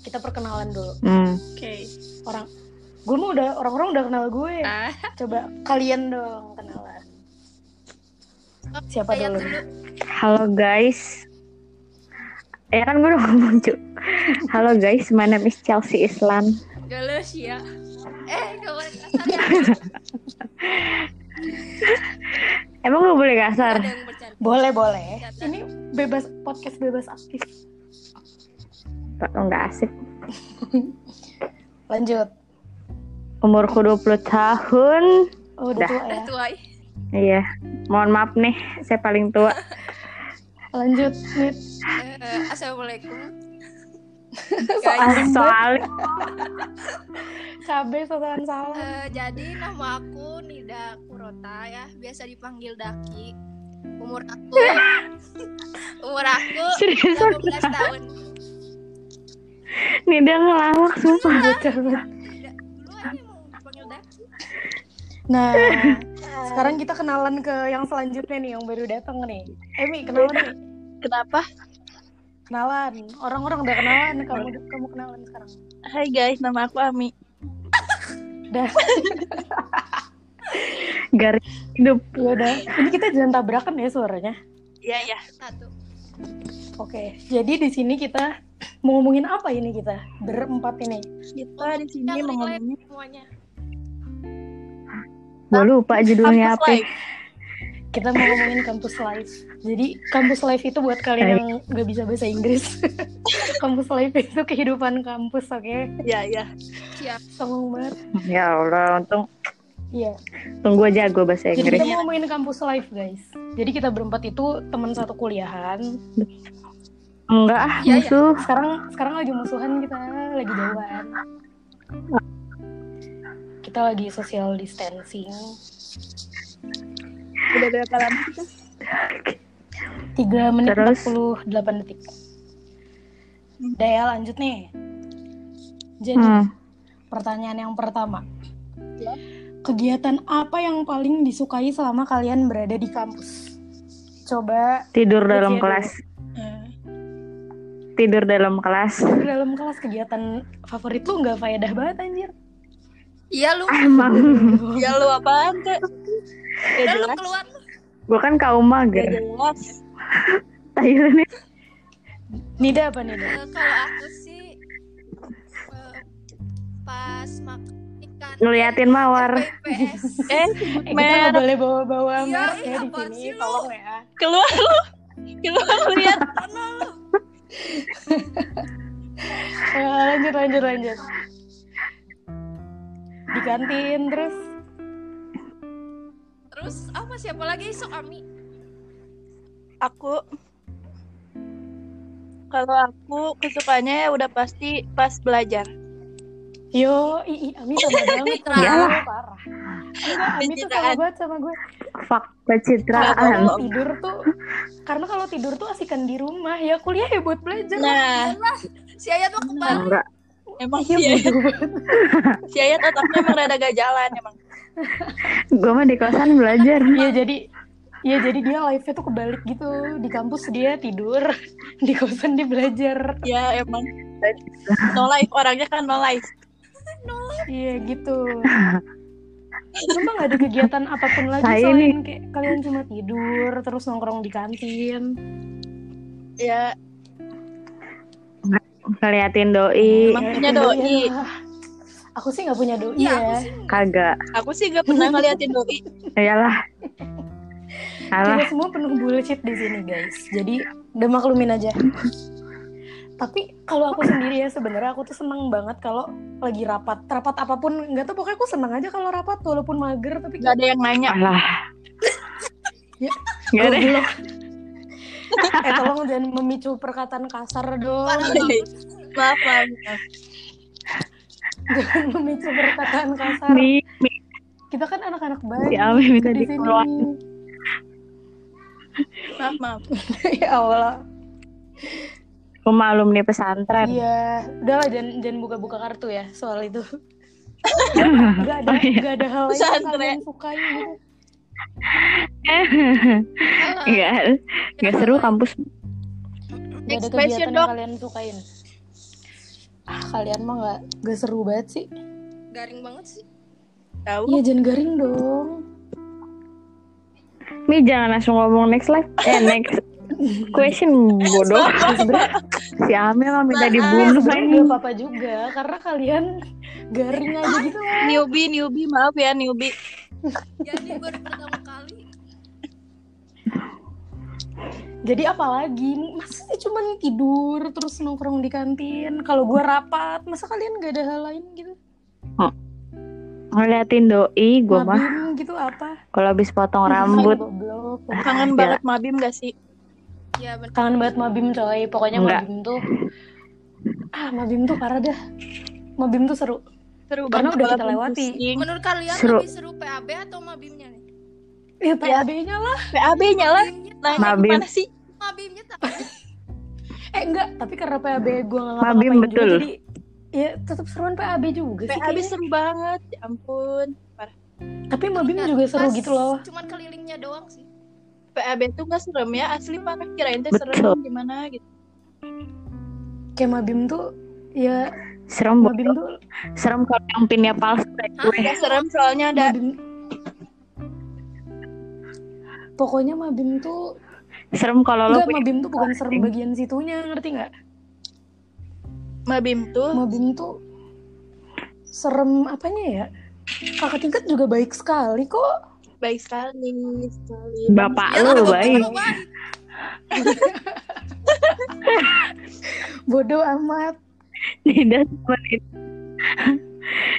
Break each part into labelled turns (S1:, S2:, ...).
S1: kita perkenalan dulu
S2: Hmm.
S3: Oke.
S1: orang gue mau udah orang-orang udah kenal gue
S3: Ah,
S1: coba kalian dong kenalan siapa
S3: Ayat
S1: dulu
S2: Halo guys. Ya kan gue udah ngomong cu. Halo guys, my name is Chelsea Islan.
S3: Galus ya. Eh, gak boleh kasar ya.
S2: Emang gue boleh kasar?
S3: Ada yang bercanda.
S1: boleh boleh
S3: Siapa?
S4: ya?
S1: ini bebas podcast bebas aktif
S2: Pak, Enggak asik.
S1: lanjut
S2: Umurku 20 tahun.
S1: oh, udah
S2: Dah.
S1: tua ya
S3: Udah tua. ih.
S2: Iya. Mohon maaf nih, saya paling tua.
S1: lanjut Nit.
S3: Eh, eh, Assalamualaikum. Guys,
S2: Soalnya, soalnya
S1: cabe sosokan salah
S3: eh, jadi nama aku Nida Kurota ya, biasa dipanggil Daki. Umur aku ya. Umur aku
S2: Serius?
S3: 18 tahun.
S2: nih dia ngelawak sumpah.
S1: Bocor banget.
S3: Lu aja mau dipanggil Daki.
S1: nah sekarang kita kenalan ke yang selanjutnya nih yang baru datang nih Emi kenalan nih
S4: Kenapa?
S1: kenalan orang-orang udah kenalan kamu kamu kenalan sekarang
S4: Hai guys, nama aku Ami.
S1: dah
S2: Garis hidup.
S1: ya udah ini kita jangan tabrakan ya suaranya
S4: Ya ya.
S3: Satu.
S1: Oke, jadi di sini kita mau ngomongin apa ini kita berempat ini?
S4: Kita di sini
S3: Yang
S4: mau
S3: relate
S4: ngomongin
S3: semuanya.
S2: Gue lupa judulnya
S4: kampus
S2: apa.
S4: life.
S1: Kita mau ngomongin kampus life. Jadi kampus life itu buat kalian yang nggak bisa bahasa Inggris. kampus life itu kehidupan kampus, oke?
S4: Ya ya.
S3: Siap.
S1: Tolong banget.
S2: Ya Allah, untung
S1: Iya.
S2: tunggu aja gue bahasa
S1: Jadi kita
S2: Inggris.
S1: mau ngomongin kampus life, guys. Jadi kita berempat itu teman satu kuliahan.
S2: Enggak ah,
S3: Iya, iya.
S2: musuh.
S1: Sekarang sekarang lagi musuhan kita, lagi jauhan. Kita lagi social distancing.
S4: Udah berapa lama kita?
S1: 3 menit
S2: Terus?
S1: 48 detik. Udah ya lanjut nih. Jadi
S2: Hmm.
S1: pertanyaan yang pertama.
S4: Ya.
S1: Kegiatan apa yang paling disukai selama kalian berada di kampus? Coba
S2: Tidur
S1: Ujian
S2: dalam kelas.
S1: eh,
S2: Tidur dalam kelas.
S1: di dalam kelas kegiatan favorit lu nggak faedah banget anjir.
S3: Iya lu.
S2: Emang.
S4: Ya lu apaan kak? Gak
S3: Udah lu
S4: jelas.
S3: keluar lu.
S2: Gue kan kaum
S4: Gak
S2: mager.
S4: jelas.
S2: Tayo nih.
S1: Nida apa Nida?
S3: Eh, kalau aku sih eh, pas makan ikan
S2: Ngeliatin mawar.
S3: MPPS.
S4: Eh,
S1: Eh, kita nggak
S4: mer
S1: boleh bawa-bawa
S3: Iya,
S1: merek
S3: iya,
S1: ya di
S3: apaan
S1: sini.
S3: sih lu?
S1: Tolong ya.
S4: keluar lu. Keluar lu lihat.
S1: Eh, lanjut lanjut lanjut. Di kantin terus
S3: Terus apa siapa lagi sok Ami?
S4: Aku kalau aku kesukaannya udah pasti pas belajar.
S1: Yo, ii, Ami sama banget sama
S2: Iyalah.
S1: gue parah. Enggak, Ami tuh sama
S4: Iya Pencitraan. Nah, ah,
S1: banget sama gue.
S2: Fak
S4: Apaan?
S1: Kalau
S2: pencitraan.
S1: tidur tuh, karena kalau tidur tuh asikan di rumah. Ya kuliah ya buat belajar.
S4: Nah,
S3: Si Ayat mah kebalik.
S2: Enggak.
S4: emang si
S1: Iya
S4: Ayat,
S1: bodoh banget.
S4: si Ayat otaknya emang rada gak jalan emang.
S2: Gue mah di kosan belajar.
S1: Iya jadi, ya jadi dia live-nya tuh kebalik gitu. Di kampus dia tidur, di kosan dia belajar.
S4: Ya emang. No life orangnya kan no life.
S1: Iya gitu. Cuma gak ada kegiatan apapun lagi
S4: Nah,
S2: Saya
S1: selain
S2: ini-
S1: kayak kalian cuma tidur terus nongkrong di kantin.
S4: Ya,
S2: Ngeliatin doi.
S4: Iya. Emang
S1: Ya,
S4: punya
S1: itu
S4: doi.
S1: lah. Aku sih nggak punya doi
S3: Iya,
S1: ya.
S3: aku sih.
S2: Kagak. Ya
S4: aku sih gak pernah ngeliatin doi.
S2: Iyalah. Alah. Ya
S1: Kita semua penuh bullshit di sini guys. Jadi udah maklumin aja. Tapi kalau aku sendiri ya sebenarnya aku tuh seneng banget kalau lagi rapat. Rapat apapun nggak tahu pokoknya aku seneng aja kalau rapat walaupun mager tapi
S4: Gak ada yang nanya.
S2: Alah.
S1: Ya.
S2: Gak ada.
S1: Goblok.
S2: Nah.
S1: eh tolong jangan memicu perkataan kasar dong.
S4: maaf maaf maaf.
S1: Jangan memicu perkataan kasar.
S2: Mi, mi,
S1: Kita kan anak-anak baik.
S2: si Ami minta
S1: di
S2: dikeluarin.
S1: sini.
S4: maaf maaf
S1: ya Allah.
S2: Rumah alumni pesantren.
S1: Iya, udahlah jangan jangan buka-buka kartu ya soal itu. gak ada
S2: Oh, iya.
S1: gak ada hal lain yang
S4: Pesantren.
S1: kalian sukai gitu.
S3: Alah,
S2: Enggak. Enggak Iya. seru kampus.
S1: Gak ada
S4: Next
S1: kegiatan
S4: question,
S1: yang
S4: Dok.
S1: kalian sukain. Ah, kalian mah nggak nggak seru banget sih
S3: garing banget sih
S4: Tahu?
S1: iya jangan garing dong
S2: Mi jangan langsung ngomong next live. Eh next question bodoh.
S1: Ya, sebenarnya
S2: Si Amel mah minta
S1: sebenarnya
S2: dibunuh
S1: nggak
S2: anjing.
S1: apa-apa juga karena kalian garing aja gitu loh.
S4: Newbie, newbie, maaf ya newbie.
S3: jadi Ya, baru pertama kali
S1: jadi apalagi masa sih cuman tidur terus nongkrong di kantin kalau gua rapat masa kalian gak ada hal lain gitu
S2: Ngeliatin doi gue mah
S1: Mabim gitu apa
S2: kalau habis potong
S1: Iya,
S2: rambut.
S1: Goblok.
S4: Kangen
S2: Ah,
S4: banget mabim gak sih?
S3: ya benar
S1: kangen banget mabim coy pokoknya
S2: Enggak.
S1: mabim tuh ah mabim tuh parah dah mabim tuh seru
S4: Seru
S1: Karena
S4: banget
S1: udah kita
S4: walaupun
S1: lewati.
S4: pusing.
S3: menurut kalian
S2: Seru.
S3: lebih seru PAB atau mabimnya nih
S1: ya
S2: Iya.
S1: PAB-nya lah
S4: PAB nyala.
S3: mabimnya
S4: Nanya
S2: Mabim.
S4: gimana sih?
S3: mabimnya tak
S1: eh enggak tapi karena PAB
S2: Nah,
S1: gue nggak
S2: Mabim
S1: ngapa-ngapain juga,
S2: betul.
S1: jadi ya tetap seruan PAB juga Iya sih
S4: PAB
S1: kayaknya.
S4: seru banget. Ya ampun. Parah.
S1: tapi mabim juga seru
S3: Pas
S1: gitu loh
S3: cuman kelilingnya doang sih
S4: PAB tuh gak serem ya. Asli parah kirain teh
S2: Betul.
S4: serem gimana gitu.
S1: kayak mabim tuh ya
S2: Serem
S1: mabim
S2: bodoh.
S1: tuh
S2: Serem kalau yang pinnya palsu. ya,
S4: Gak serem soalnya ada
S1: mabim pokoknya mabim tuh
S2: Serem kalau lo
S1: enggak
S2: punya
S1: mabim tuh bukan serem bagian situnya ngerti nggak
S4: mabim tuh.
S1: mabim tuh serem apanya ya kakak tingkat juga baik sekali kok
S4: Baik sekali. sekali.
S2: bapak
S3: Ya,
S2: lo
S3: bapak
S2: baik.
S3: lu baik.
S1: bodoh amat
S2: Nida sama Nida.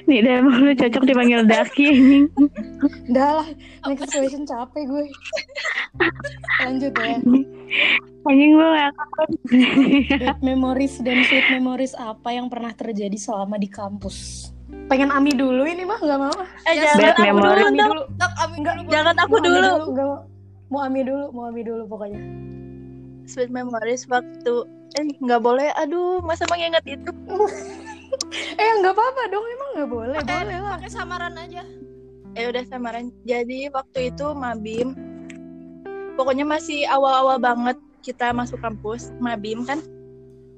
S2: Nida emang lu cocok dipanggil Daki anjing.
S1: Udah lah, next question capek gue. Lanjut ya.
S2: Anjing ya. lu gak
S1: Bad memories dan sweet memories apa yang pernah terjadi selama di kampus? Pengen Ami dulu ini mah nggak mau.
S4: Eh,
S3: Ya,
S4: jangan
S2: bad
S4: aku
S2: memory.
S4: dulu
S1: Ami
S4: dong.
S1: dulu.
S3: Tak, Ami
S1: Enggak,
S3: dulu,
S4: Jangan aku
S1: Mau Ami
S4: dulu.
S1: nggak mau. Mau Ami dulu, mau Ami dulu pokoknya.
S4: Sweet memories waktu eh nggak boleh aduh masa mengingat itu
S1: Eh nggak apa-apa dong, emang nggak boleh, boleh lah.
S3: Eh, pakai samaran aja
S4: eh udah samaran jadi
S1: Hmm.
S4: waktu itu mabim pokoknya masih awal-awal banget kita masuk kampus mabim kan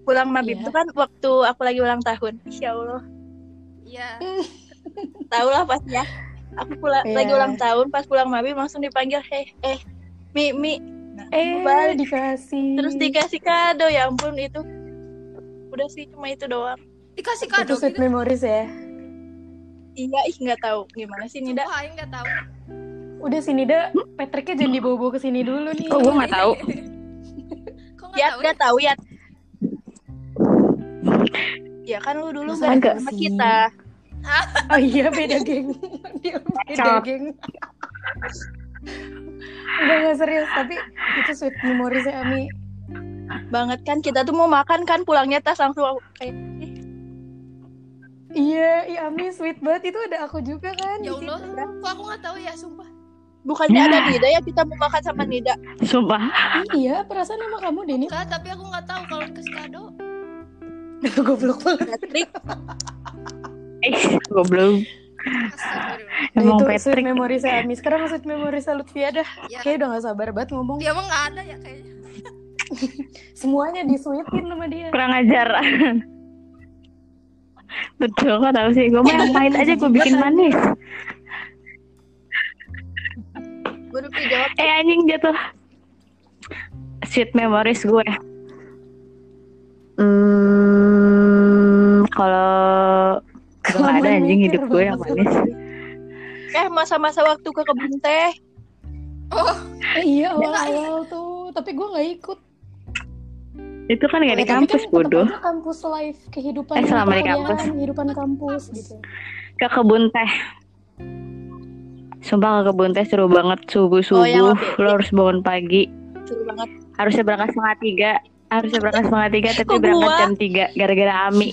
S4: pulang mabim
S1: Iya.
S4: itu kan waktu aku lagi ulang tahun ya allah
S3: Iya.
S4: tau lah pasti ya aku pulang
S1: Iya.
S4: lagi ulang tahun pas pulang mabim langsung dipanggil heh eh mi mi Nah, aku
S1: Eh
S4: balik.
S1: dikasih.
S4: terus dikasih kado ya ampun itu udah sih cuma itu doang
S1: Itu
S3: Dikasih kado
S1: sweet
S3: gitu.
S1: memories ya.
S4: iya ih nggak tahu gimana sih Nida
S3: Sumpah, Aing nggak tahu.
S1: Udah sini dah, Patricknya jangan dibawa-bawa ke sini dulu nih.
S2: Kok
S3: Oh,
S2: gue gak tahu?
S3: Kok nggak
S4: Ya
S3: tahu?
S4: udah tahu ya. Ya kan lu dulu
S1: Masa
S4: gak
S1: enggak
S4: sama
S1: sih?
S4: kita.
S1: Oh iya beda geng. Dia beda
S2: Cocok.
S1: geng. Enggak enggak serius, tapi itu sweet memory saya Ami.
S4: Banget kan kita tuh mau makan kan pulangnya tas langsung aku kayak "Ih,
S1: Iya, iya Ami sweet banget itu ada aku juga kan.
S3: Ya
S1: di
S3: Allah,
S1: situ.
S3: kok aku nggak tahu ya, sumpah.
S4: bukannya ada Nida ya kita mau makan sama Nida.
S2: Sumpah.
S1: Iya, perasaan sama kamu Deni.
S3: Enggak, tapi aku nggak tahu kalau dikasih kado.
S1: Goblok banget.
S4: Patrick
S2: Eh, goblok.
S3: Astagfirullah.
S1: Nah,
S2: Emang
S1: itu sweet
S2: Patrick.
S1: memory saya Ami. Sekarang sweet memory saya Lutfia dah.
S3: Ya,
S1: Kayak udah gak sabar banget ngomong.
S3: dia emang nggak ada ya kayaknya.
S1: Semuanya disuitin sama dia.
S2: Kurang ajar. Betul kok tahu sih. Gue mah yang pahit aja gue bikin manis.
S4: baru dijawab
S2: Eh anjing jatuh. Sweet memories gue. Hmm, kalau kalau
S1: Kamu
S2: ada anjing
S1: mikir
S2: hidup gue yang
S1: banget.
S2: manis.
S4: eh masa-masa waktu ke kebun
S1: Eh,
S4: teh
S1: iya awal-awal tuh, tapi gue gak ikut.
S2: Itu kan gak di
S1: Eh, tapi kan
S2: kampus
S1: tetep
S2: bodoh.
S1: aja kampus life kehidupan
S2: Eh, selama di
S1: kuliahan,
S2: kampus.
S1: kehidupan kampus gitu.
S2: ke kebun teh Sumpah ke kebun teh seru banget
S4: Oh, yang
S2: subuh-subuh
S4: waktu itu.
S2: Lo harus bangun pagi
S4: seru banget.
S2: Harusnya berangkat setengah tiga Harusnya berangkat setengah tiga Tapi
S4: Kok
S2: berangkat
S4: gua?
S2: jam tiga Gara-gara Ami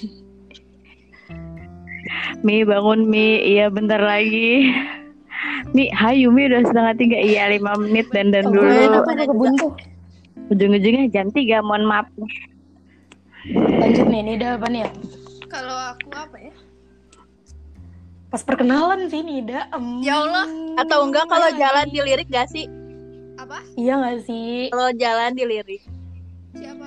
S2: Mi bangun Mi Iya bentar lagi Mi hayu Mi udah setengah tiga Iya lima menit dan dan
S1: Kebun,
S2: dulu
S1: apa tuh kebun tuh?
S2: Ujung-ujungnya jam tiga Mohon maaf
S1: Lanjut nih, ini udah apa nih ya?
S3: Kalau aku apa ya?
S1: Pas perkenalan sih Nida. em.
S3: Ya Allah.
S4: Atau enggak kalau jalan dilirik gak sih?
S3: Apa?
S1: Iya gak sih?
S4: Kalau jalan dilirik.
S3: Siapa?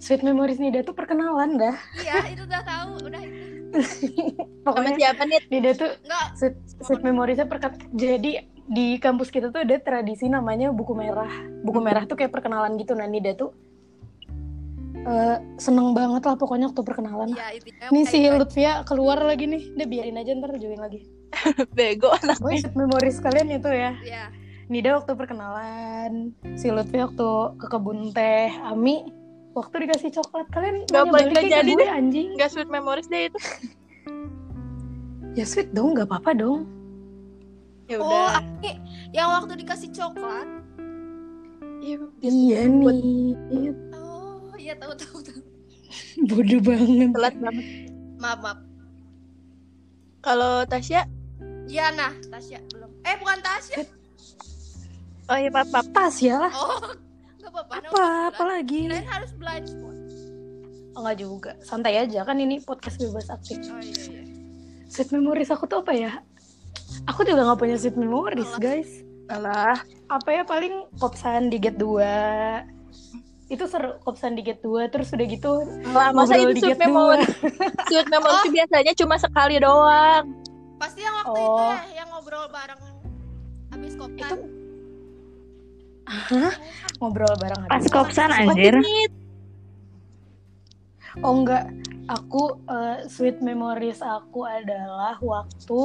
S1: Sweet Memories Nida tuh perkenalan dah.
S3: Iya, itu udah tahu, udah itu.
S4: Sama
S1: Pokoknya
S4: siapa nih?
S1: Nida tuh
S3: Enggak,
S1: sweet, sweet
S4: Hmm.
S1: memoriesnya perken- Jadi di kampus kita tuh ada tradisi namanya buku merah. Buku
S4: Hmm.
S1: merah tuh kayak perkenalan gitu. Nah Nida tuh eh, seneng banget lah pokoknya waktu perkenalan.
S3: iya intinya
S1: Nih si
S3: kayak-
S1: Lutfia keluar lagi nih. Udah biarin aja ntar join lagi.
S4: Bego anak.
S1: Pokoknya sweet memories kalian itu ya.
S3: Iya.
S1: Nida waktu perkenalan, si Lutfi waktu ke kebun teh, Ami waktu dikasih coklat kalian
S4: Nggak
S1: nanya
S4: apa-
S1: baliknya
S4: nggak
S1: ke
S4: jadi
S1: gue,
S4: deh.
S1: anjing.
S4: Enggak sweet memories deh itu.
S1: Ya sweet dong, nggak apa-apa dong.
S4: Ya
S3: Oh,
S4: udah.
S3: Aki, yang waktu dikasih coklat.
S4: Iya,
S1: Iya nih,
S3: Oh, iya tahu tahu tahu.
S1: bodoh banget.
S4: telat banget.
S3: Maaf, maaf.
S4: Kalau Tasya,
S3: Iya, nah, Tasya belum. Eh, bukan Tasya.
S4: oh iya maaf, maaf.
S1: Pas ya lah.
S3: Oh, enggak apa-apa. no
S1: Apa, apa
S3: problem.
S1: lagi?
S3: Kalian harus iya, blind spot.
S1: Oh, nggak juga, santai aja kan ini podcast bebas aktif.
S3: Oh iya iya.
S1: Sweet memories aku tuh apa ya? Aku juga nggak punya sweet memories guys.
S4: Alah,
S1: Apa ya paling kopsan di gate 2 itu seru kopsan di gate 2 terus udah gitu
S4: alah masa
S1: ngobrol
S4: itu
S1: di
S4: sweet
S1: gate dua.
S4: memories. Sweet memories tuh biasanya cuma sekali doang.
S3: Pasti yang waktu itu
S1: Oh.
S3: ya, yang ngobrol bareng habis kopi. Oh,
S1: itu Hah? ngobrol bareng
S2: Pas
S1: habis
S2: kopsan
S4: Pasti
S2: anjir.
S4: nih,
S1: Oh enggak, aku eh, sweet memories aku adalah waktu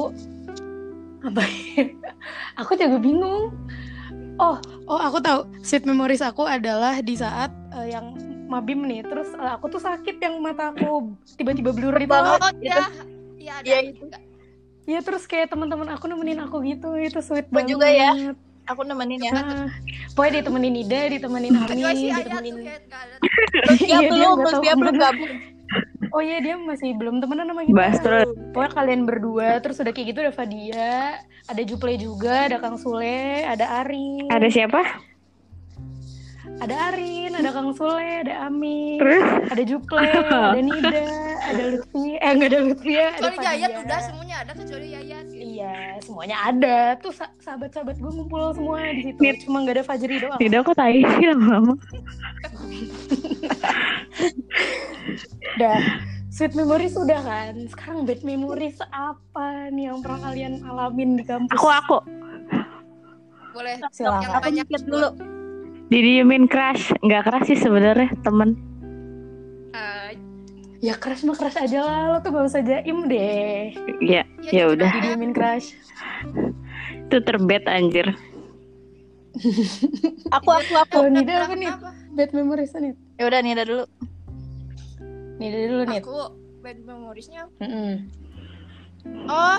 S1: apa ya? Aku juga bingung. Oh, oh aku tahu. Sweet memories aku adalah di saat eh, yang mabim nih, terus eh, aku tuh sakit yang mata aku tiba-tiba blur gitu.
S3: Oh,
S1: loh.
S3: iya. Iya, ada
S4: Iya,
S3: aku
S4: itu.
S3: juga.
S1: Iya, terus kayak teman-teman aku nemenin aku gitu, itu sweet
S4: Aku
S1: banget.
S4: juga ya. aku nemenin ya.
S1: Nah, pokoknya ditemenin Ida, ditemenin Ami,
S3: Kecuali si Ayah
S1: ditemenin.
S3: tuh ya, enggak ada.
S1: Iya,
S4: Dia belum,
S1: nggak
S4: terus
S1: tahu
S4: dia belum
S1: kemana.
S4: gabung.
S1: Oh iya, dia masih belum temenan sama kita.
S2: Bastro.
S1: Pokoknya kalian berdua, terus udah kayak gitu ada Fadia, ada Juple juga, ada Kang Sule, ada Arin,
S2: Ada siapa?
S1: ada Arin, ada Kang Sule, ada Ami,
S2: Terus
S1: ada Juple, ada Nida, ada Lutfi, eh nggak ada Lutfi ya, ada
S3: Kecuali
S1: Fadia.
S3: Yayat udah semuanya ada kecuali Yayat. gitu.
S1: Iya, semuanya ada. Tuh sa- sahabat-sahabat gue ngumpul semua di situ.
S2: Nid.
S1: Cuma nggak ada Fajri doang.
S2: tidak kok tai sih lama-lama.
S1: Udah. Sweet memories udah kan. Sekarang bad memories apa nih yang pernah kalian alamin di kampus?
S2: Aku aku
S3: Boleh.
S1: Silakan.
S3: Yang
S4: Aku
S3: banyak
S4: mikir dulu.
S2: didiemin crush, nggak keras sih sebenarnya temen.
S3: Eh,
S1: Ya crush mah crush aja lah. Lo tuh gak usah jaim deh.
S2: Ya, ya
S3: gitu
S2: udah.
S3: aja.
S1: Didiemin crush.
S2: Itu terbet anjir.
S4: Aku aku aku.
S1: Kalau
S3: Kenapa,
S1: Nida apa nih?
S3: kenapa?
S1: Bad memories nih.
S4: Ya udah Nida dulu.
S1: Nida dulu nih.
S3: Aku bad memoriesnya
S1: Mm-mm.
S3: Oh,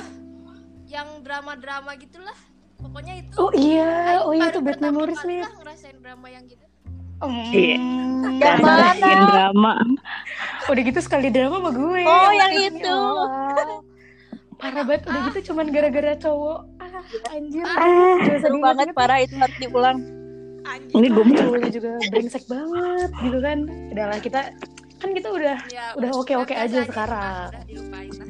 S3: yang drama-drama gitulah. Pokoknya itu.
S1: Oh iya, oh iya itu
S3: Baru
S1: bad
S3: pertama
S1: memories
S3: kali
S1: nih.
S3: lah ngerasain drama yang gitu.
S2: Iya.
S1: Mm.
S4: Yang
S1: Nah,
S4: mana?
S2: Ngerasain drama.
S1: Udah gitu sekali drama sama gue.
S4: Oh, yang
S1: Makasih,
S4: itu.
S1: Allah. Parah banget udah gitu cuman gara-gara cowok. Ah, anjir.
S2: Ah,
S1: Gak usah
S4: Seru banget
S1: diingat-ingat.
S4: parah itu harus diulang.
S3: Anjir.
S2: ini gue
S1: Cowoknya juga brengsek banget gitu kan. Udahlah kita kan kita udah
S3: Ya,
S1: Udah oke-oke
S3: biasa
S1: aja sekarang.
S3: Udah dilupain lah.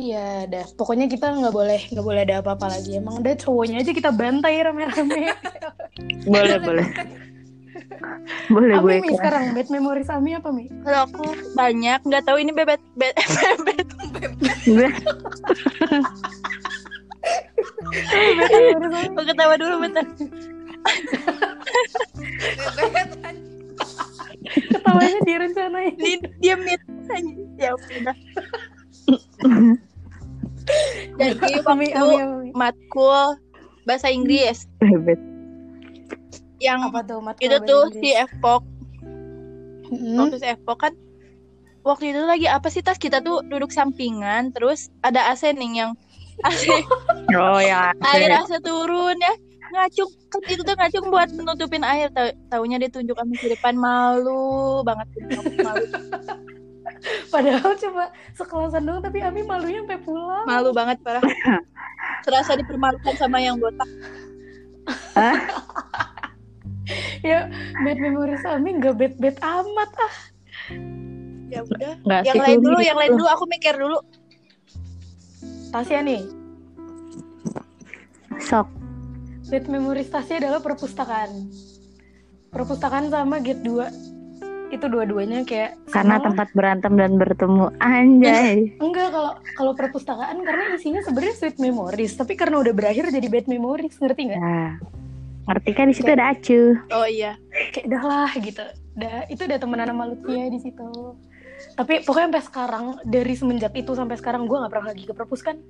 S1: Iya, dah. Pokoknya kita nggak boleh nggak boleh ada apa-apa lagi. Emang udah cowoknya aja kita bantai rame-rame.
S2: boleh boleh. Boleh gue
S1: Ami Mi,
S2: keras.
S1: sekarang bad memories Ami apa Mi?
S4: Kalau aku banyak nggak tahu ini bebet bebet bebet
S2: Gue
S1: Bad memories Ami.
S4: Aku ketawa dulu bentar.
S3: Bebet kan.
S1: Ketawanya direncanain.
S4: Ini dia mute. Ya udah. Jadi
S1: Ami, Ami,
S4: waktu
S1: Ami.
S4: matkul bahasa Inggris
S2: terbet.
S4: yang
S1: Apa tuh Mat?
S4: itu tuh si Evpok
S1: Mm-mm.
S4: waktu si Evpok kan waktu itu lagi apa sih tas kita tuh duduk sampingan terus ada AC nih yang AC
S2: Oh ya.
S4: air AC turun ya ngacung kan itu tuh ngacung buat menutupin air Tau, taunya ditunjuk sama si depan malu banget malu,
S1: Padahal cuma sekelasan doang tapi Ami malunya sampai pulang.
S4: malu banget parah terasa dipermalukan sama yang botak
S1: Ya bad memories Ami nggak bad bad amat ah.
S4: ya udah
S2: Nggak
S4: yang
S2: sih,
S4: lain
S2: gue
S4: dulu
S2: gitu.
S4: yang lain dulu aku mikir dulu
S1: Tasya nih,
S2: Sok.
S1: bad memories Tasya adalah perpustakaan. Perpustakaan sama gate 2 itu dua-duanya kayak sama
S2: karena
S1: lah.
S2: tempat berantem dan bertemu anjay
S1: enggak kalau kalau perpustakaan karena isinya sebenarnya sweet memories tapi karena udah berakhir jadi bad memories ngerti nggak
S2: nah, ngerti kan di situ ada acu
S4: Oh iya.
S1: kayak dah lah gitu dah itu udah temenan sama Lutfi di situ tapi pokoknya sampai sekarang dari semenjak itu sampai sekarang gue nggak pernah lagi ke perpus kan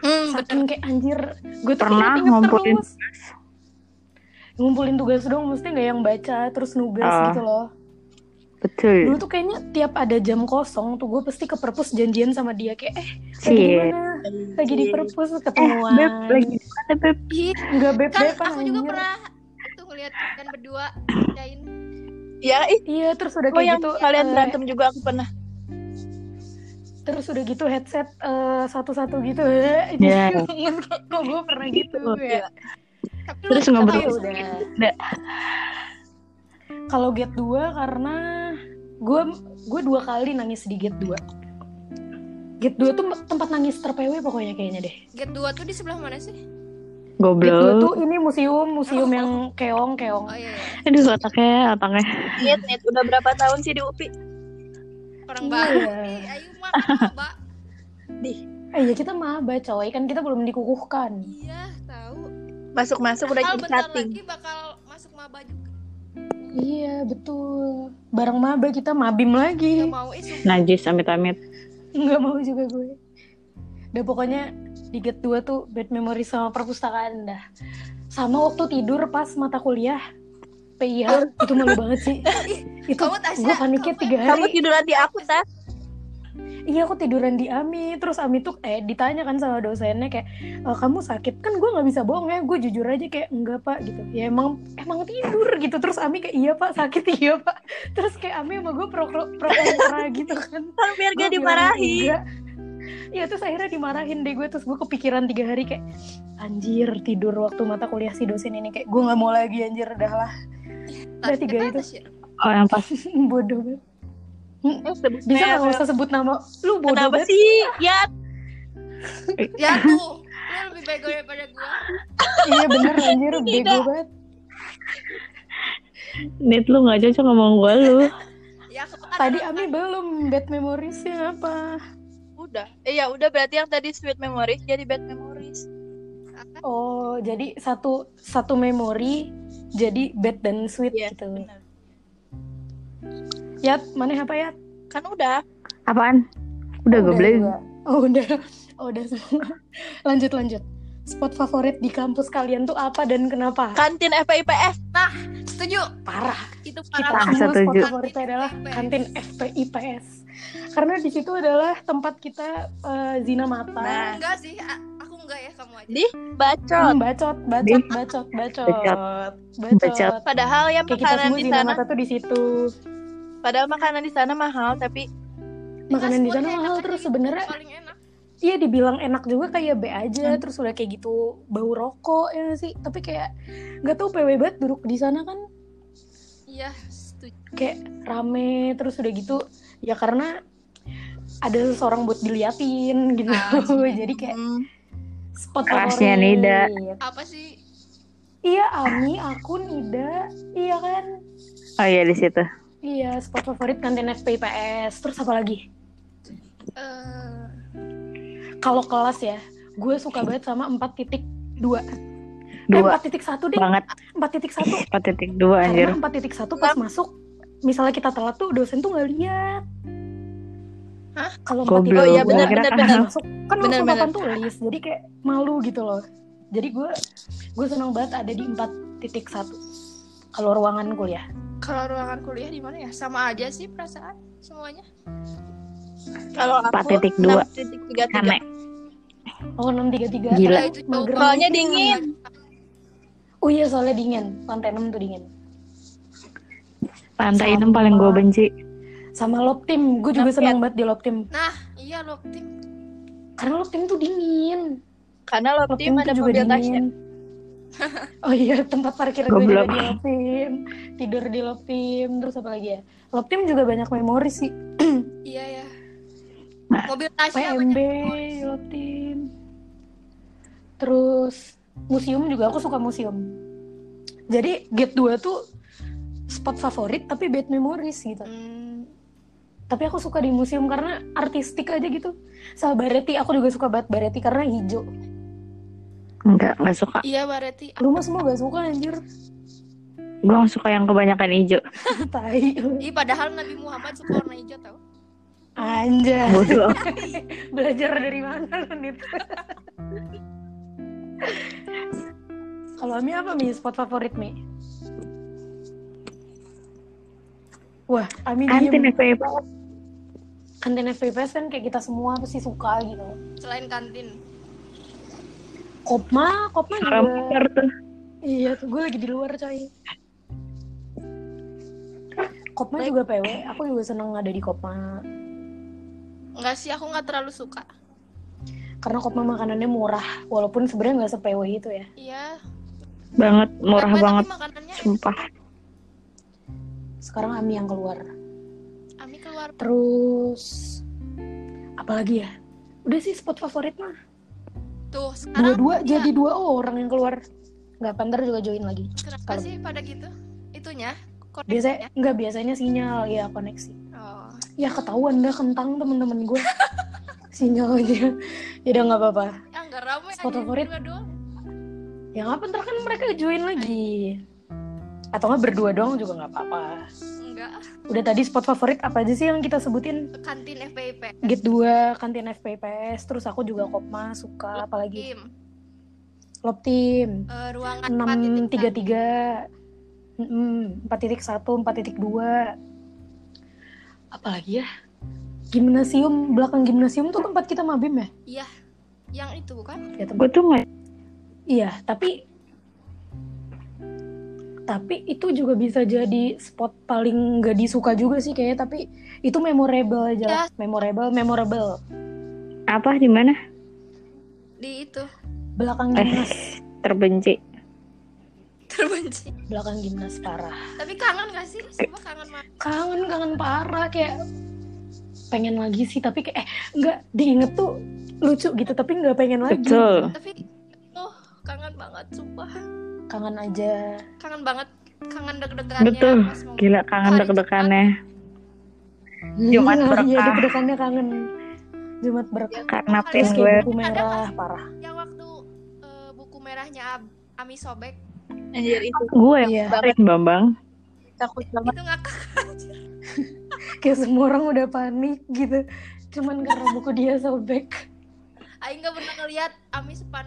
S3: Hmm, bener.
S1: saking kayak anjir gue tuh
S2: Pernah
S1: ingat-ingat
S2: ngumpulin
S1: terus. ngumpulin tugas dong mesti nggak yang baca terus nugas
S2: Ah. Iya.
S1: gitu loh dulu
S2: betul
S1: tuh kayaknya tiap ada jam kosong tuh gue pasti ke perpus janjian sama dia kayak eh lagi di
S2: sih
S1: mana lagi di perpus
S2: Iya. eh
S1: ketemuan
S2: beb lagi di mana beb
S3: Ih,
S1: nggak beb
S3: kan
S1: beban,
S3: aku juga
S1: anjir.
S3: pernah itu ngeliat dan berdua ngerjain
S4: Ya itu
S1: iya terus udah
S4: oh,
S1: kayak
S4: yang
S1: gitu
S4: kalian
S1: eh,
S4: berantem juga aku pernah.
S1: terus udah gitu headset eh, satu-satu gitu eh, ini
S2: Ya.
S1: kok gue pernah gitu ya
S4: Iya.
S3: tapi
S2: Terus
S3: lu-
S2: ngobrol.
S1: tapi ya udah
S2: Nggak.
S1: kalau gate 2 karena gue gue dua kali nangis di gate 2 gate 2 tuh tempat nangis terpewe pokoknya kayaknya deh
S3: Gate 2 ya, tuh di sebelah mana sih?
S1: gate 2
S2: goblok
S1: tuh ini museum museum yang keong keong
S3: Oh iya, iya.
S2: aduh otaknya otaknya
S4: Niat niat Iya, udah berapa tahun sih di UPI?
S3: orang
S1: Iya.
S3: baru. nih. Ayo makan Mbak.
S1: eh ya kita maba coy kan kita belum dikukuhkan
S3: Iya, tahu.
S4: Masuk-masuk udah
S3: Asal
S4: jadi
S3: bentar
S4: chatting.
S3: lagi bakal masuk maba juga.
S1: iya betul bareng maba kita mabim lagi
S3: Gak mau isu.
S2: najis amit-amit
S1: nggak mau juga gue udah pokoknya di gate 2 tuh bad memory sama perpustakaan dah sama waktu tidur pas mata kuliah PIH itu malu banget sih itu
S3: Kamu Tasya,
S1: gue paniknya ya,
S3: kamu- ya?
S1: tiga
S4: Kamu
S1: hari
S4: tiduran di aku, Tat.
S1: iya aku tiduran di Ami terus Ami tuh eh ditanya kan sama dosennya kayak "Eh, kamu sakit kan gue nggak bisa bohong ya gue jujur aja kayak enggak pak gitu ya emang emang tidur gitu terus Ami kayak iya pak sakit iya pak terus kayak Ami sama gue pro pro pro kontra gitu kan
S4: Kan biar
S1: Gua
S4: gak
S1: bilang
S4: dimarahi.
S1: enggak. Iya terus akhirnya dimarahin deh gue Terus gue kepikiran tiga hari kayak Anjir tidur waktu mata kuliah si dosen ini Kayak gue gak mau lagi anjir dah lah Udah tiga
S3: Kita
S1: itu.
S3: atas ya?
S2: oh yang pas
S1: Bodoh banget Hmm,
S4: Eh, sebut
S1: Bisa gak
S4: merek.
S1: usah sebut nama Lu bodoh
S4: Kenapa
S1: banget
S4: sih? Ya,
S3: Ya tuh, lu lebih bego daripada gua.
S1: Iya bener anjir Bego banget
S2: net lu nggak cocok ngomong gua lu
S3: Ya kebetulan
S1: Tadi
S3: orang-
S1: Ami belum Bad memoriesnya apa
S4: udah. Eh, ya udah berarti yang tadi sweet memories jadi bad memories.
S1: Oh jadi satu Satu memori Jadi bad dan sweet
S4: Iya,
S1: gitu
S4: benar.
S1: Yat mana ya, apa Yat
S4: Kan udah.
S2: apaan udah
S1: Oh,
S2: goblok
S1: juga. Oh udah, oh udah semua. lanjut lanjut. Spot favorit di kampus kalian tuh apa dan kenapa?
S4: Kantin FPIPS.
S3: setuju.
S1: Parah.
S3: Itu
S1: Kita
S3: parah.
S2: Langsung
S1: semua spot
S2: setuju.
S1: favoritnya adalah kantin FPIPS. Karena di situ adalah tempat kita eh, zina mata.
S4: Nah,
S3: Enggak sih, a- aku enggak ya kamu aja.
S4: Di- bacot.
S1: Hmm, bacot, bacot, bacot, bacot,
S2: Bacot.
S1: bacot.
S2: Bacot.
S4: Padahal yang
S1: Kayak kita
S4: makanan
S1: semua
S4: di
S1: zina
S4: sana,
S1: mata tuh di situ.
S4: padahal makanan di sana mahal tapi
S1: Makanan di
S3: Mas,
S1: sana
S3: buat
S1: mahal
S3: enak
S1: terus
S3: aja,
S1: sebenarnya
S3: paling enak.
S1: Iya dibilang enak juga kayak B aja
S4: Hmm.
S1: terus udah kayak gitu bau rokok ya nggak sih tapi kayak nggak tahu PW banget duduk di sana kan
S3: Iya, setuju.
S1: kayak rame terus udah gitu ya karena ada seseorang buat diliatin gitu jadi kayak
S4: hmm,
S1: spot favorit.
S2: Kerasnya Nida.
S3: Apa sih?
S1: iya Ami aku Nida iya kan
S2: oh iya di situ
S4: Eh,
S1: iya spot favorit kantin FPIPS terus apa lagi
S3: Eh,
S1: kalau kelas ya gue suka banget sama 4.2 titik dua Eh,
S2: dua
S1: empat titik satu deh
S2: banget
S1: empat titik satu
S2: empat titik dua anjir
S1: karena empat titik satu pas masuk misalnya kita telat tuh dosen tuh nggak lihat
S3: Hah?
S1: kalau
S2: Goblok.
S1: 4.32
S2: Oh iya,
S4: benar,
S2: benar,
S1: pas
S4: benar.
S1: masuk kan langsung
S4: Benar, benar.
S1: papan tulis jadi kayak malu gitu loh jadi gue gue senang banget ada di empat titik satu kalau ruangan kuliah
S3: kalau ruangan kuliah di mana ya? Sama aja sih perasaan semuanya.
S4: kalau aku
S2: Empat titik dua.
S4: 6.33.
S2: aneh
S1: oh enam tiga tiga
S2: Gila.
S3: Itu jauh
S4: Soalnya dingin.
S1: oh iya soalnya dingin lantai enam tuh dingin
S2: pantai itu paling gua benci
S1: sama lob tim gue juga
S4: Kenapa,
S1: senang banget di lob tim
S3: Nah, iya loh tim.
S1: karena lob tim tuh dingin
S4: Karena
S1: lob
S4: lobby
S1: tim
S4: ada
S1: tuh juga
S4: mobil tasnya.
S1: dingin oh iya tempat parkir gue juga
S2: Goblok.
S1: di lob tim tidur di lob tim terus apa lagi ya lob tim juga banyak memori sih
S3: Iya ya. Mobil Tasya
S1: PMB, Yotin. Terus museum juga aku suka museum. Jadi gate 2 tuh spot favorit tapi bad memories gitu
S3: Hmm,
S1: tapi aku suka di museum karena artistik aja gitu sama Bareti aku juga suka banget Bareti karena hijau
S2: Enggak, enggak suka.
S3: iya berarti
S1: lu mah semua gak suka anjir
S2: Gue nggak suka yang kebanyakan hijau.
S1: tai
S3: Ih, padahal Nabi Muhammad suka warna hijau tau
S1: anjay
S2: Bodoh.
S1: belajar dari mana lu Nit? Kalau Ami apa Mi spot favorit Mi? Wah, Ami
S2: Kantin E
S1: diem.
S2: FPIP.
S1: Kantin FPPS kan kayak kita semua pasti suka gitu.
S3: selain kantin.
S1: Kopma, Kopma juga.
S2: Rampar tuh.
S1: Iya, tuh gue lagi di luar coy. Kopma juga PW, aku juga seneng ada di Kopma.
S3: Enggak sih, aku nggak terlalu suka.
S1: Karena Kopma makanannya murah, walaupun sebenarnya nggak se-PW itu ya.
S3: Iya.
S2: Banget, murah
S3: Tapi
S2: banget.
S3: Makanannya
S2: Sumpah.
S1: Sekarang Ami yang keluar.
S3: Ami keluar.
S1: Terus apalagi ya? Udah sih spot favorit mah.
S3: Tuh, sekarang
S1: Dua-dua
S3: iya.
S1: jadi dua orang yang keluar. Nggak panter juga join lagi.
S3: Kenapa
S1: sekarang.
S3: sih pada gitu? Itunya koneksinya.
S1: Biasanya nggak biasanya sinyal ya koneksi.
S3: Oh.
S1: Ya ketahuan dah kentang temen-temen gue. Sinyalnya. Ya udah nggak apa-apa.
S3: Ya enggak ramai
S1: Spot favorit.
S3: berdua doang.
S1: Ya nggak panter kan mereka join lagi. Atau nggak berdua doang juga nggak apa-apa.
S3: Enggak,
S1: Udah tadi spot favorit apa aja sih yang kita sebutin?
S3: kantin FPIP.
S1: Gate 2, kantin FPPS, terus aku juga Kopma, suka, apalagi
S3: Tim.
S1: Lop Team.
S3: Eh, ruangan
S1: enam
S3: 4.1.
S1: tiga tiga empat titik satu empat titik dua apalagi ya gimnasium belakang gimnasium tuh tempat kita mabim ya
S3: Yang itu bukan?
S1: ya tempat
S2: Gue tuh nggak
S1: iya tapi tapi itu juga bisa jadi spot paling gak disuka juga sih kayaknya tapi itu memorable aja
S2: Ya.
S1: lah. memorable memorable
S2: apa di mana?
S3: Di itu
S1: belakang
S2: Eh.
S1: gimnas
S2: Terbenci.
S3: terbenci.
S1: belakang gimnas parah
S3: Tapi kangen gak sih? Sumpah kangen banget.
S1: kangen kangen parah kayak pengen lagi sih tapi kayak eh nggak diinget tuh lucu gitu tapi nggak pengen lagi
S2: Betul.
S3: Tapi oh, kangen banget sumpah.
S1: kangen aja
S3: Kangen banget. Kangen deg-degannya.
S2: Betul. Gitu.
S3: pas mau-
S2: Gila kangen
S3: Hari
S2: deg-degannya. Jumat
S1: Iya,
S2: berkah.
S1: iya deg-degannya kangen Jumat berkah
S2: Karena
S1: terus
S2: pin gue.
S1: kayak buku merah parah
S3: Yang waktu eh, buku merahnya Ab- Ami sobek
S4: Anjir itu
S2: Gue yang
S1: iya
S4: banget
S2: tarik Bambang.
S4: takut banget.
S3: itu ngakak.
S1: kayak semua orang udah panik gitu cuman karena buku dia sobek
S3: Aing gak pernah ngeliat Ami sepan.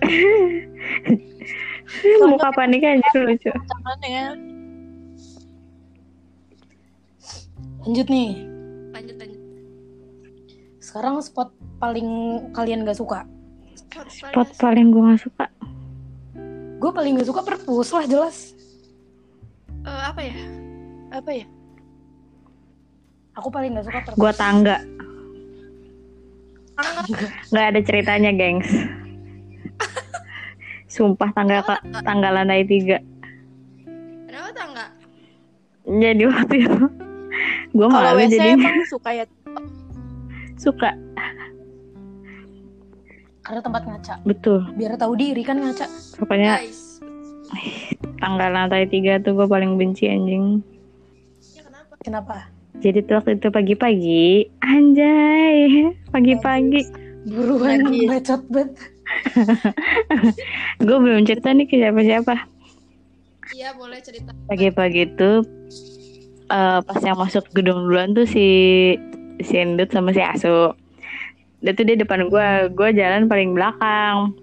S2: Muka paniknya aja lucu.
S4: Tangan ya.
S1: lanjut nih
S3: Lanjut lanjut.
S1: sekarang spot paling kalian gak suka
S3: Harus
S2: Spot
S3: lanjut.
S2: paling gue nggak suka.
S1: gue paling gak suka perpus lah jelas
S3: Eh, apa ya?
S4: Apa ya?
S1: aku paling gak suka perpus
S2: Gue tangga.
S3: Kangen
S2: Nggak ada ceritanya, gengs. Sumpah tangga tangga lantai tiga.
S3: Kenapa tau nggak?
S2: Jadi waktu itu
S1: Oh,
S2: gue
S4: Kalau
S2: malu
S4: WC
S2: jadi
S4: emang suka ya.
S2: suka
S1: karena tempat ngaca
S2: betul
S1: biar tahu diri kan ngaca
S2: pokoknya
S3: Guys.
S2: tangga lantai tiga tuh gue paling benci anjing
S3: Ya kenapa?
S1: kenapa
S2: jadi tuh waktu itu pagi-pagi anjay pagi-pagi
S1: buruan
S4: Lagi.
S1: bacot banget
S2: gue belum cerita nih ke siapa-siapa
S3: Iya boleh cerita.
S2: Ya, pagi-pagi tuh eh, pas yang masuk gedung duluan tuh si si Endut sama si Asu dia tuh dia depan gua gua jalan paling belakang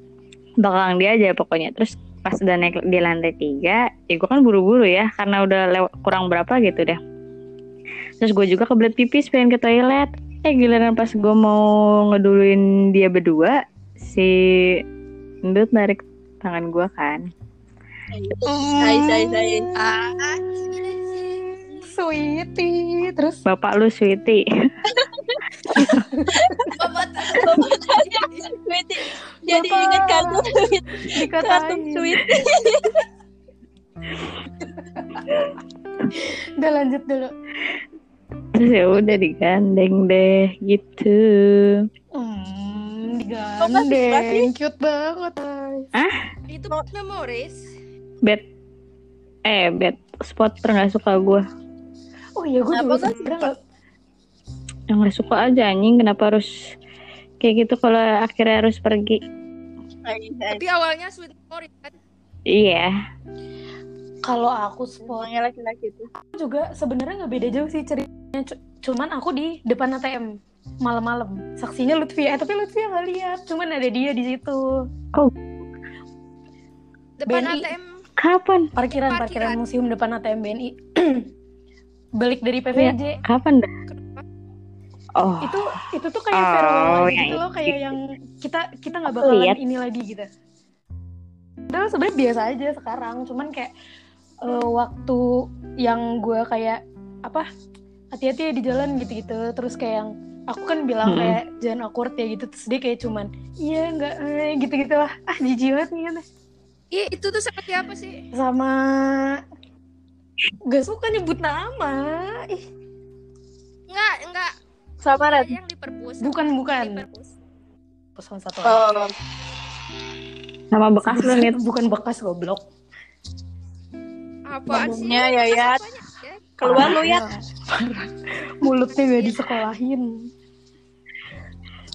S2: belakang dia aja pokoknya terus pas udah naik di lantai tiga ya gua kan buru-buru ya karena udah lew- kurang berapa gitu deh terus gue juga kebelet pipis pengen ke toilet eh giliran pas gua mau ngeduluin dia berdua si Endut narik tangan gua kan
S4: Hai, hai, hai.
S3: Ah,
S1: Sweetie Terus
S2: bapak lu sweetie
S3: babat.
S4: Tweety. Jadi inget kartun kartun
S1: dikatain
S4: Tweety.
S1: Udah lanjut dulu
S2: Terus ya udah digandeng deh gitu.
S1: Hmm
S4: Makasih, makasih.
S1: Digandeng Cute banget
S3: Itu memories.
S2: Bed eh bed spot tergak suka gue
S1: Oh iya gue
S4: Kenapa
S1: juga
S4: kan
S1: sebenernya
S4: suka?
S1: nggak-
S2: yang nggak suka aja anjing kenapa harus kayak gitu kalau akhirnya harus pergi
S3: Tapi awalnya sweet memory kan.
S2: iya
S1: Kalau aku spot
S4: Semuanya laki-laki itu.
S1: juga sebenarnya nggak beda jauh sih ceritanya cu- cuman aku di depan ATM malam-malam saksinya Lutfi eh tapi Lutfi nggak lihat cuman ada dia di situ
S3: Depan
S1: BNI.
S3: ATM
S2: kapan
S1: parkiran
S3: Parkiran.
S1: parkiran museum depan ATM BNI balik dari PVJ
S2: kapan dah oh
S1: itu itu tuh kayak
S2: Oh,
S1: farewell
S2: ya
S1: gitu
S2: itu.
S1: loh kayak yang kita kita nggak
S2: Aku
S1: bakalan
S2: lihat.
S1: ini lagi gitu Padahal sebenarnya biasa aja sekarang cuman kayak eh, waktu yang gue kayak apa hati-hati ya di jalan gitu-gitu terus kayak yang aku kan bilang
S2: Mm-mm.
S1: kayak jangan awkward ya gitu terus dia kayak cuman iya nggak eh, gitu-gitu lah ah jijik banget nih kata.
S3: Ih, Iya, itu tuh sama siapa sih?
S1: sama gak suka nyebut nama ih
S3: Enggak, enggak.
S4: Sama Rat.
S3: Yang di perpus.
S1: bukan bukan
S3: Di perpus.
S1: pesan satu orang.
S4: Oh,
S2: sama bekas lu nih
S1: bukan bekas goblok
S3: Apaan sih?
S4: Ngomongnya, Yayat.
S3: Apanya? Ya,
S4: keluar lu ya.
S1: mulutnya gak disekolahin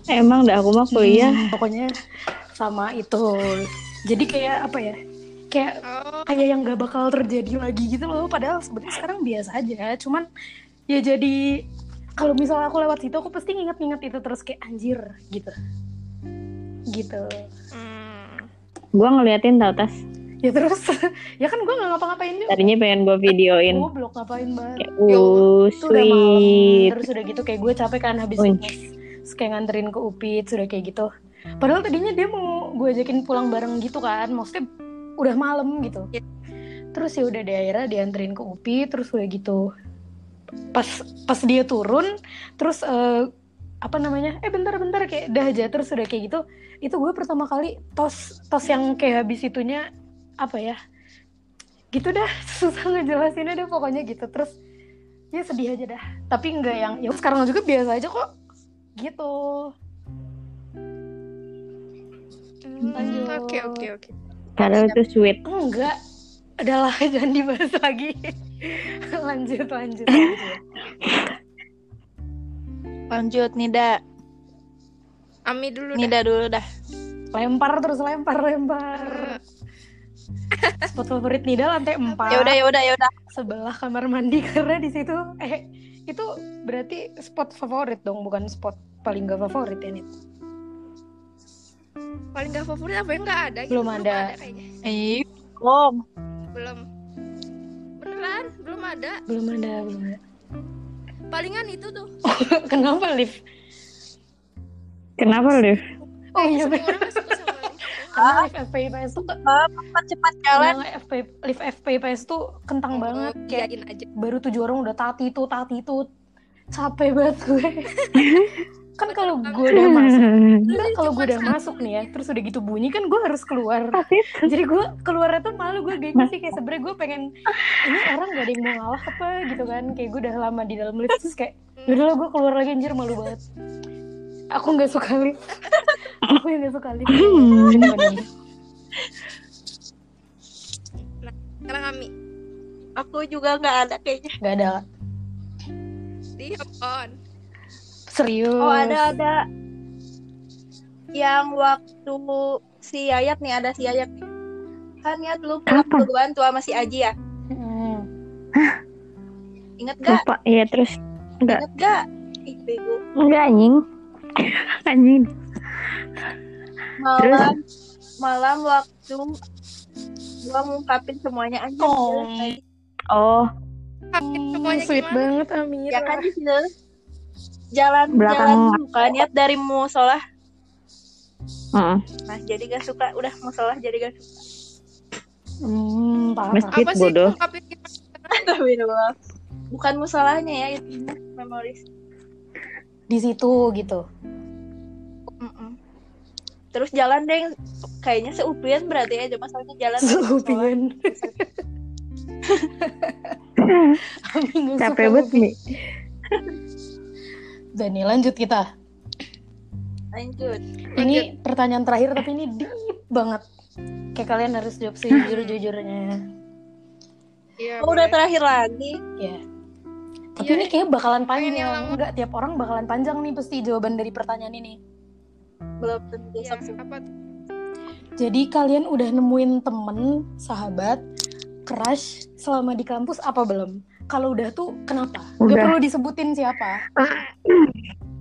S2: emang dah aku mah
S4: Oh iya.
S2: kuliah
S1: Hmm, pokoknya sama itu jadi kayak apa ya kayak
S3: Oh,
S1: kayak yang gak bakal terjadi lagi gitu loh padahal sebenarnya sekarang biasa aja cuman ya jadi kalau misalnya aku lewat situ aku pasti nginget-nginget itu terus kayak anjir gitu gitu
S3: hmm.
S2: gue ngeliatin tau tas
S1: ya terus ya kan gue nggak ngapa-ngapain juga
S2: tadinya pengen gue videoin
S1: goblok ngapain banget
S2: kayak uh
S1: itu Oh, ya udah malam
S2: sweet
S1: terus udah gitu kayak gue capek kan habis
S2: Uy.
S1: UTS. terus kayak nganterin ke Upit sudah kayak gitu padahal tadinya dia mau gue ajakin pulang bareng gitu kan maksudnya udah malam gitu
S3: Iya.
S1: terus ya udah daerah dianterin ke Upit terus udah gitu pas pas dia turun terus eh, apa namanya eh bentar-bentar kayak dah aja terus udah kayak gitu itu gue pertama kali tos tos yang kayak habis itunya apa ya gitu dah susah ngejelasinnya deh pokoknya gitu terus ya sedih aja dah tapi nggak yang ya sekarang juga biasa aja kok gitu Lanjut.
S3: Hmm, Oke, oke, oke.
S2: padahal itu sweet
S1: enggak adalah jangan dibahas lagi lanjut lanjut lanjut
S4: Lanjut Nida.
S3: Ami dulu dah.
S4: Nida dulu dah.
S1: lempar terus lempar lempar spot favorit Nida lantai empat
S4: Ya udah ya udah ya udah.
S1: sebelah kamar mandi karena di situ eh itu berarti spot favorit dong bukan spot paling gak favorit ya Nid
S3: Paling gak favorit apa yang gak ada? gitu.
S1: Belum ada.
S3: kayaknya.
S4: Ih, bohong.
S3: Belum. Beneran, belum ada.
S1: belum ada belum ada
S3: Palingan itu tuh.
S1: kenapa lift
S2: kenapa lu
S1: oh iya
S3: Semua
S1: bener.
S3: orang suka
S1: karena
S3: sama
S1: lift FPIPS tuh
S4: Cepat jalan.
S1: Yang FP, lift FPPS tuh kentang banget kayak
S3: Biarin Oh, aja.
S1: baru tujuh orang udah tati itu tati itu capek banget gue kan kalau gue udah masuk enggak, kalau gue udah masuk nih ya terus udah gitu bunyi kan gue harus keluar
S4: Ah,
S1: jadi gue keluarnya tuh malu gue gengsi sih kayak sebenernya gue pengen ini orang gak ada yang mau ngalah apa gitu kan kayak gue udah lama di dalam lift terus kayak udah lah gue keluar lagi anjir malu banget aku nggak suka lift aku yang nggak suka lift Bener-bener.
S3: Sekarang Ami.
S4: Aku juga nggak ada kayaknya.
S1: nggak ada
S3: Di on.
S1: serius
S4: Oh ada ada. Yang waktu si Yayat nih ada si Yayat. nih. Kan ya dulu pulang
S2: Kapan?
S4: duluan tuh sama si Aji ya.
S1: Mm.
S4: Ingat gak?
S2: lupa ya terus Nggak.
S4: Ingat gak? Ih, bego.
S2: enggak anjing anjing
S4: Malam malam waktu gua ngungkapin semuanya aja.
S1: Oh.
S2: oh
S3: Hampir semuanya
S1: Hmm, sweet
S3: gimana?
S1: banget Amira.
S4: Ya kan di sini. Jalan
S2: Belakang.
S4: jalan bukan niat dari musola.
S2: heeh.
S4: Nah, jadi gak suka udah musola jadi gak suka.
S1: Hmm, parah.
S2: Masjid
S3: Apa sih?
S2: bodoh
S3: Tapi gimana?
S4: Astagfirullah. Bukan musolahnya ya itu memoris.
S1: Di situ gitu.
S4: Mm-mm. Terus jalan deh kayaknya seupian berarti ya cuma soalnya jalan dari musola.
S1: Supian. Minggu
S2: capek banget Mi.
S1: Dani lanjut kita.
S4: Lanjut.
S1: Ini pertanyaan terakhir tapi ini deep banget. Kayak kalian harus jawab sejujur-jujurnya.
S3: Iya,
S4: Oh,
S3: boleh.
S4: udah terakhir lagi.
S1: Ya. Tapi
S3: Iya.
S1: ini kayaknya bakalan panjang. ya,
S3: Pengen yang-
S1: Enggak, tiap orang bakalan panjang nih pasti jawaban dari pertanyaan ini.
S4: Belum tentu
S3: Iya,
S4: sampai-
S3: apa tuh?
S1: Jadi kalian udah nemuin temen, sahabat, crush selama di kampus apa belum? Kalau udah tuh kenapa? Gak
S2: Udah.
S1: perlu disebutin siapa.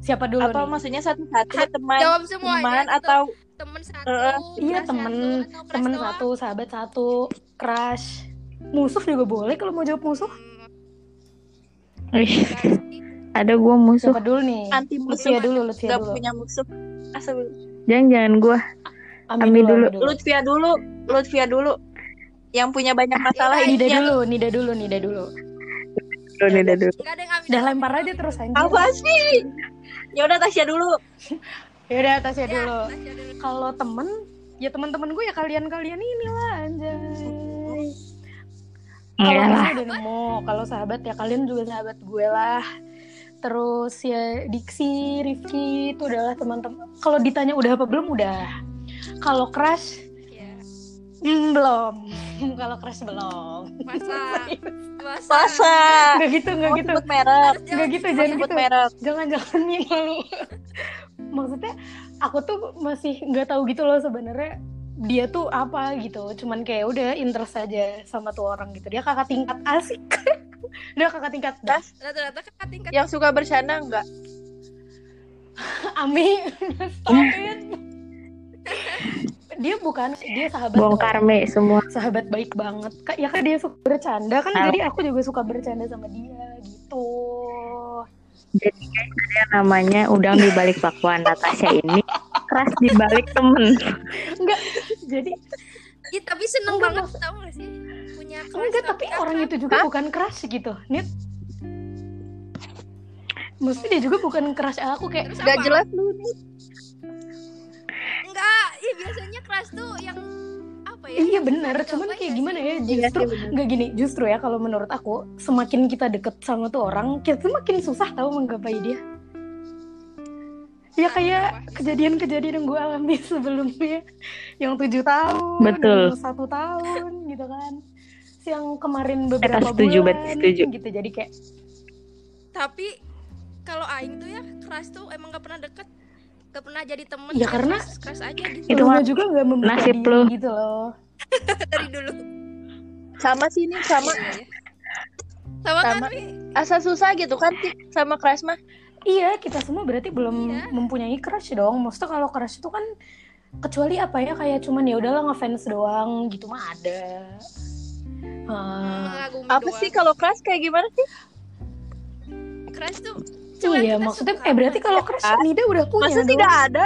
S1: Siapa dulu
S4: Atau
S1: nih?
S4: maksudnya satu-satu ya, teman,
S3: Jawab semua
S4: teman
S3: ya,
S4: atau
S3: temen satu,
S4: Heeh.
S1: Iya,
S3: kelas
S1: temen.
S3: satu, atau kelas
S1: Temen
S3: doang?
S1: satu, sahabat satu, crush. Musuh juga boleh kalau mau jawab musuh.
S3: Hmm,
S2: Ih,
S3: kelas
S2: ada gue musuh.
S1: Siapa dulu nih?
S4: anti musuh,
S1: Lutfia dulu, Lutfia
S4: nggak
S1: dulu.
S4: punya musuh. Ah, Asal
S2: Jangan jangan gue. Ami dulu.
S1: Ami
S4: Lutfia dulu, Lutfia dulu. Yang punya banyak masalah
S3: Yaudah,
S4: ini
S1: Nida
S4: dia.
S1: dulu, Nida dulu, Nida dulu.
S2: Dulu nih, dah dulu.
S3: Gak ada yang ambil.
S1: Udah lempar aja terus anjir.
S4: Apa sih? Ya udah Tasya dulu.
S1: Yaudah, Tasya
S3: Ya,
S1: dulu.
S3: Tasya dulu.
S1: Kalau temen, ya teman-teman gue ya kalian-kalian inilah anjay. Kalau
S2: Enggak lah.
S1: musuh udah nemu, kalau sahabat ya kalian juga sahabat gue lah. Terus ya Diksi, Rifki itu adalah teman-teman. Kalau ditanya udah apa belum udah. Kalau crush
S3: Iya.
S1: hmm, belum. kalau crush belum.
S3: Masa. Masa.
S4: Masa.
S1: Gak gitu, gak
S4: Mau
S1: gitu.
S4: sebut merek.
S1: Gak gitu,
S4: Mau
S1: jangan
S4: sebut
S1: gitu.
S4: merek.
S1: jangan-jangan nih malu maksudnya aku tuh masih nggak tahu gitu loh sebenarnya dia tuh apa gitu cuman kayak udah interest aja sama tuh orang gitu dia kakak tingkat asik dia kakak tingkat dah
S3: Rata-rata kakak tingkat.
S1: Ya.
S4: Yang suka bercanda enggak?
S1: Ami stop it. dia bukan dia sahabat
S2: Bongkar
S1: baik.
S2: me semua.
S1: sahabat baik banget Kak, ya kan dia suka bercanda kan
S2: Ah.
S1: jadi aku juga suka bercanda sama dia gitu
S2: Jadi guys ada yang namanya udang di balik bakwan. Natasha ini keras di balik temen.
S1: jadi
S3: Ih, tapi seneng
S1: Enggak,
S3: banget tau gak sih? Punya kelas
S1: Enggak, tapi
S3: kakak.
S1: orang itu juga bukan crush gitu, Nit. Maksudnya dia juga bukan crush aku kayak
S3: Terus
S4: Enggak
S3: apa?
S4: jelas lu.
S3: Enggak. Iya, biasanya kelas tuh yang apa ya?
S1: iya
S3: yang
S1: bener,
S3: suka
S1: cuman
S3: dicobain
S1: kayak
S3: ya
S1: gimana
S3: sih?
S1: ya
S4: Iya
S1: justru
S4: sih, bener.
S1: nggak gini, justru ya kalau menurut aku semakin kita deket sama tuh orang, kita makin susah tahu menggapai dia. Ya kayak kejadian-kejadian yang gue alami sebelumnya, yang tujuh tahun,
S2: Betul.
S1: yang satu tahun gitu kan, yang kemarin beberapa
S2: Eh, setuju,
S1: bulan
S2: Bet, setuju.
S1: gitu, jadi kayak
S3: Tapi kalau Aing tuh ya kelas tuh emang gak pernah deket. Gak pernah jadi temen.
S1: Ya, karena-
S3: kelas, kelas aja gitu
S2: Itu
S1: lu
S2: mah
S1: juga nggak membuka
S2: nasib
S1: diri
S2: lu.
S1: gitu loh.
S3: dari dulu.
S4: Sama sih ini sama
S3: Iya, iya. Sama, kan,
S4: Sama.
S3: Wi?
S4: asal susah gitu kan Ti? sama crush mah.
S1: Iya, kita semua berarti belum
S3: Iya.
S1: mempunyai crush dong. Maksudnya kalau crush itu kan kecuali apa ya kayak cuman ya udahlah ngefans doang gitu mah ada. Ah,
S3: Mengagumi
S4: Apa
S3: doang.
S4: sih kalau crush kayak gimana sih?
S3: Crush tuh cuman
S1: iya,
S3: kita
S1: maksudnya
S3: suka.
S1: eh berarti kalau crush
S4: Ah.
S1: Nida udah punya
S4: Masa
S1: dong.
S4: tidak ada?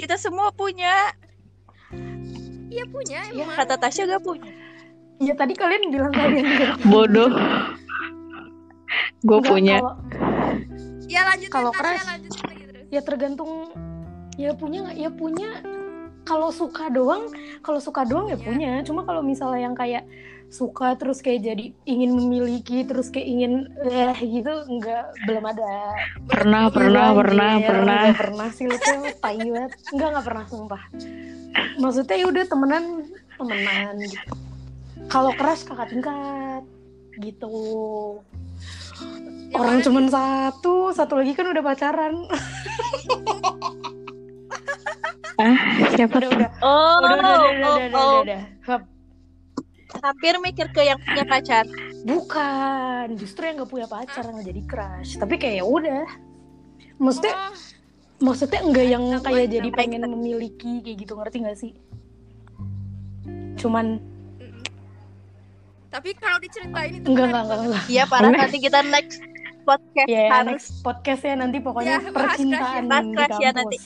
S4: Kita semua punya.
S3: Iya punya
S1: Iya,
S3: emang.
S4: Kata Tasya gak punya.
S1: Ya tadi kalian bilang kalian nggak
S2: Bodoh. Gue
S1: Nggak,
S2: punya.
S1: kalau-
S3: Ya lanjutin
S1: Kalau
S3: Tasya,
S1: crush-
S3: lanjutin lagi terus.
S1: ya tergantung ya punya nggak ya punya kalau suka doang kalau suka doang ya
S3: Iya.
S1: punya cuma kalau misalnya yang kayak suka terus kayak jadi ingin memiliki terus kayak ingin eh gitu nggak belum ada
S2: Pernah,
S1: Iya,
S2: pernah,
S1: anjir.
S2: pernah, pernah.
S1: Nggak pernah sih lu tuh tai banget nggak nggak pernah sumpah maksudnya ya udah temenan temenan gitu kalau keras kakak tingkat gitu
S3: Ya,
S1: orang
S3: mana-
S1: cuman
S4: gitu.
S1: satu satu lagi kan udah pacaran
S2: Ah, siapa
S1: udah
S2: tuh?
S1: udah
S4: Oh,
S1: udah udah udah udah
S4: oh,
S1: udah, udah,
S4: oh.
S1: udah. Hap.
S4: hampir mikir ke yang punya pacar.
S1: bukan justru yang nggak punya pacar yang nggak jadi crush tapi kayak ya udah maksudnya
S3: Oh,
S1: maksudnya enggak yang
S3: Sama-
S1: kayak jadi
S4: sama-
S1: pengen memiliki kayak gitu ngerti nggak sih cuman
S3: mm-mm. tapi kalau diceritain itu kan
S1: Enggak, enggak,
S3: menarik
S1: enggak,
S3: banget.
S1: enggak.
S4: Iya, parah nanti kita next podcast
S1: Ya,
S4: harus
S1: next podcast ya nanti pokoknya
S3: Ya, bahas
S1: percintaan
S4: crush ya, bahas
S1: di
S4: crush
S1: kampus.
S4: ya nanti.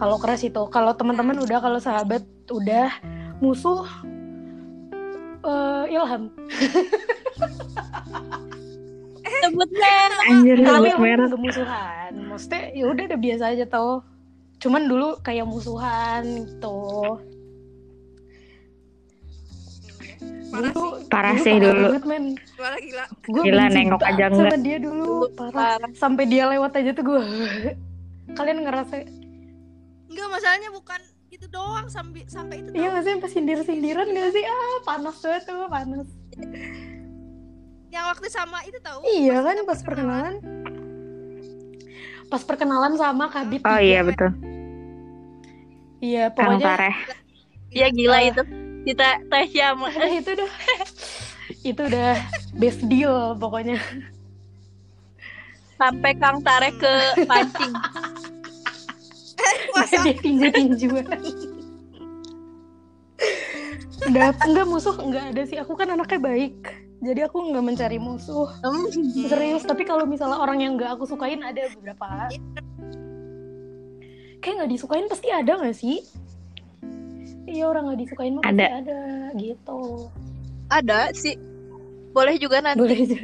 S1: Kalau crush itu, kalau teman-teman
S4: Nah.
S1: udah, kalau sahabat udah, musuh eh, ilham.
S4: sebutnya.
S2: Anjir,
S1: Kalau
S2: sebut
S1: ilham
S2: merah.
S1: nggak musuhan, maksudnya ya udah udah biasa aja tau. Cuman dulu kayak musuhan gitu.
S3: Parah
S1: Dulu,
S2: Parah sih dulu.
S1: banget, men.
S3: Parah gila.
S1: Gua
S2: Gila,
S1: benci
S2: nengok
S1: banget
S2: aja
S1: sama
S2: enggak.
S1: dia dulu,
S4: Dulu,
S1: parah.
S4: parah.
S1: Sampai dia lewat aja tuh gue. Kalian ngerasa
S3: Enggak masalahnya bukan itu doang sampai sampai itu
S1: Iya
S3: doang.
S1: gak sih sampai sindir-sindiran gak sih? Ah panas banget tuh panas.
S3: Yang waktu sama itu tahu?
S1: Iya
S3: pas
S1: kan
S3: kita
S1: pas perkenalan. Pas perkenalan sama Kadit.
S2: Oh iya betul.
S1: Iya
S2: Kang
S1: pokoknya
S2: Tareh.
S4: Ya gila
S1: Eh.
S4: itu. Kita ya, Tasya sama-
S1: Aduh, eh, itu udah itu udah best deal pokoknya.
S4: sampai Kang Tarek ke pancing.
S1: Iya,
S3: Masa
S1: tinju-tinjuan. Udah enggak musuh enggak ada sih. Aku kan anaknya baik. Jadi aku enggak mencari musuh. Serius, tapi kalau misalnya orang yang enggak aku sukain ada beberapa. Kayak enggak disukain pasti ada enggak sih? Iya orang nggak disukain mah pasti
S2: Ada.
S1: ada gitu.
S4: Ada sih. Boleh juga nanti
S1: Boleh aja.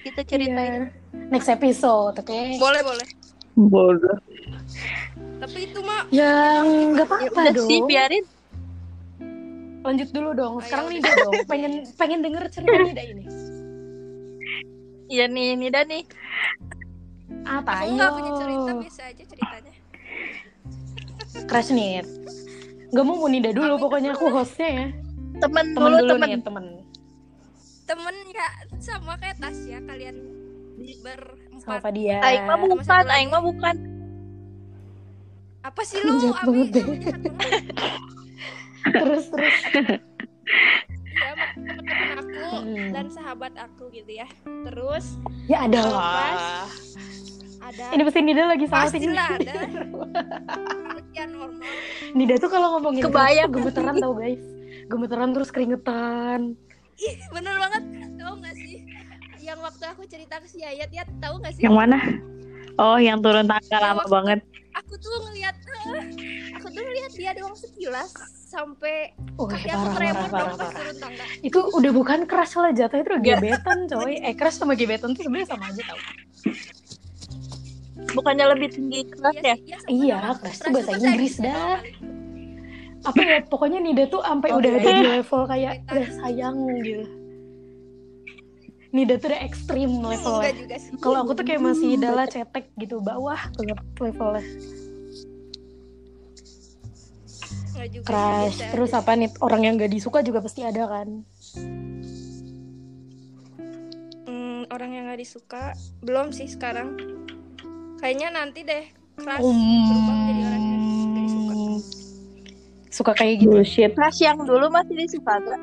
S4: kita ceritain.
S1: Iya. Next episode, oke?
S3: boleh boleh.
S2: Bodoh.
S3: Tapi itu mah
S1: Yang nggak
S4: Ya
S1: apa-apa
S4: udah
S1: dong.
S4: sih biarin.
S1: Lanjut dulu dong.
S3: Ayo,
S1: Sekarang
S3: udah.
S1: Nida dong. Pengen pengen denger cerita Nida ini.
S4: Iya nih, ini dah nih.
S1: Apa?
S3: aku nggak punya cerita bisa aja ceritanya.
S1: Crash nih. Gak mau mau Nida dulu,
S3: Apa itu?
S1: pokoknya aku hostnya ya.
S4: Temen,
S1: Temen
S4: dulu,
S1: dulu
S4: temen.
S1: nih, temen.
S3: Temen ya sama kayak Tasya kalian
S1: Sama
S3: berempat.
S1: Fadia.
S4: Aing mah
S3: Sama
S4: bukan,
S3: satu lagi.
S4: Aing mah bukan.
S3: Apa sih lu?
S1: Jahat
S3: Abi,
S1: banget deh.
S3: Lu jahat banget.
S1: Terus, terus.
S3: Ya, sama temen-temen aku
S1: Hmm.
S3: dan sahabat aku gitu ya. Terus
S1: Ya ada
S3: Kalau
S1: lah.
S3: ada
S1: Ini pasti Nida lagi salah tinggi.
S3: pastilah ada manusia normal.
S1: Nida tuh kalau ngomongin crush
S4: Kebayang.
S1: tuh gemeteran tau guys. Gemeteran terus keringetan.
S3: Ih, bener banget. Tahu nggak sih? Yang waktu aku cerita ke si Yayat, ya tahu nggak sih?
S2: Yang mana? Oh, yang turun tangga lama
S3: Yang-
S2: banget.
S3: aku tuh ngelihat aku tuh ngelihat dia doang sekilas sampai
S1: Oh,
S3: kaki
S1: parah,
S3: aku
S1: parah, parah,
S3: tremor dong pas
S1: parah.
S3: turun tangga
S1: Itu udah bukan crush lah jatuhnya itu udah gebetan coy. Eh crush sama gebetan tuh sebenarnya sama aja tau.
S4: Bukannya lebih tinggi kelas
S3: Iya
S4: ya?
S3: sih, iya, sama
S1: Iya,
S3: doang.
S1: kelas tuh
S3: Kelas
S1: bahasa Inggris dah. Apa ya pokoknya Nida tuh sampai
S4: Oh,
S1: udah
S4: iya.
S1: ada di level kayak udah sayang gitu. Nida tuh udah ekstrim
S3: Inggris.
S1: levelnya.
S3: enggak juga sih
S1: Kalau aku tuh kayak masih dalam cetek gitu bawah banget levelnya
S3: enggak juga
S1: crush.
S3: biasa
S1: Terus
S3: aja.
S1: apa nih orang yang gak disuka juga pasti ada kan.
S3: Hmm, orang yang nggak disuka belum sih sekarang kayaknya nanti deh crush
S1: Um.
S3: berubah menjadi orang yang nggak disuka
S1: Hmm. Suka kayak gitu.
S2: Bullshit.
S4: Kelas yang dulu masih disuka gak?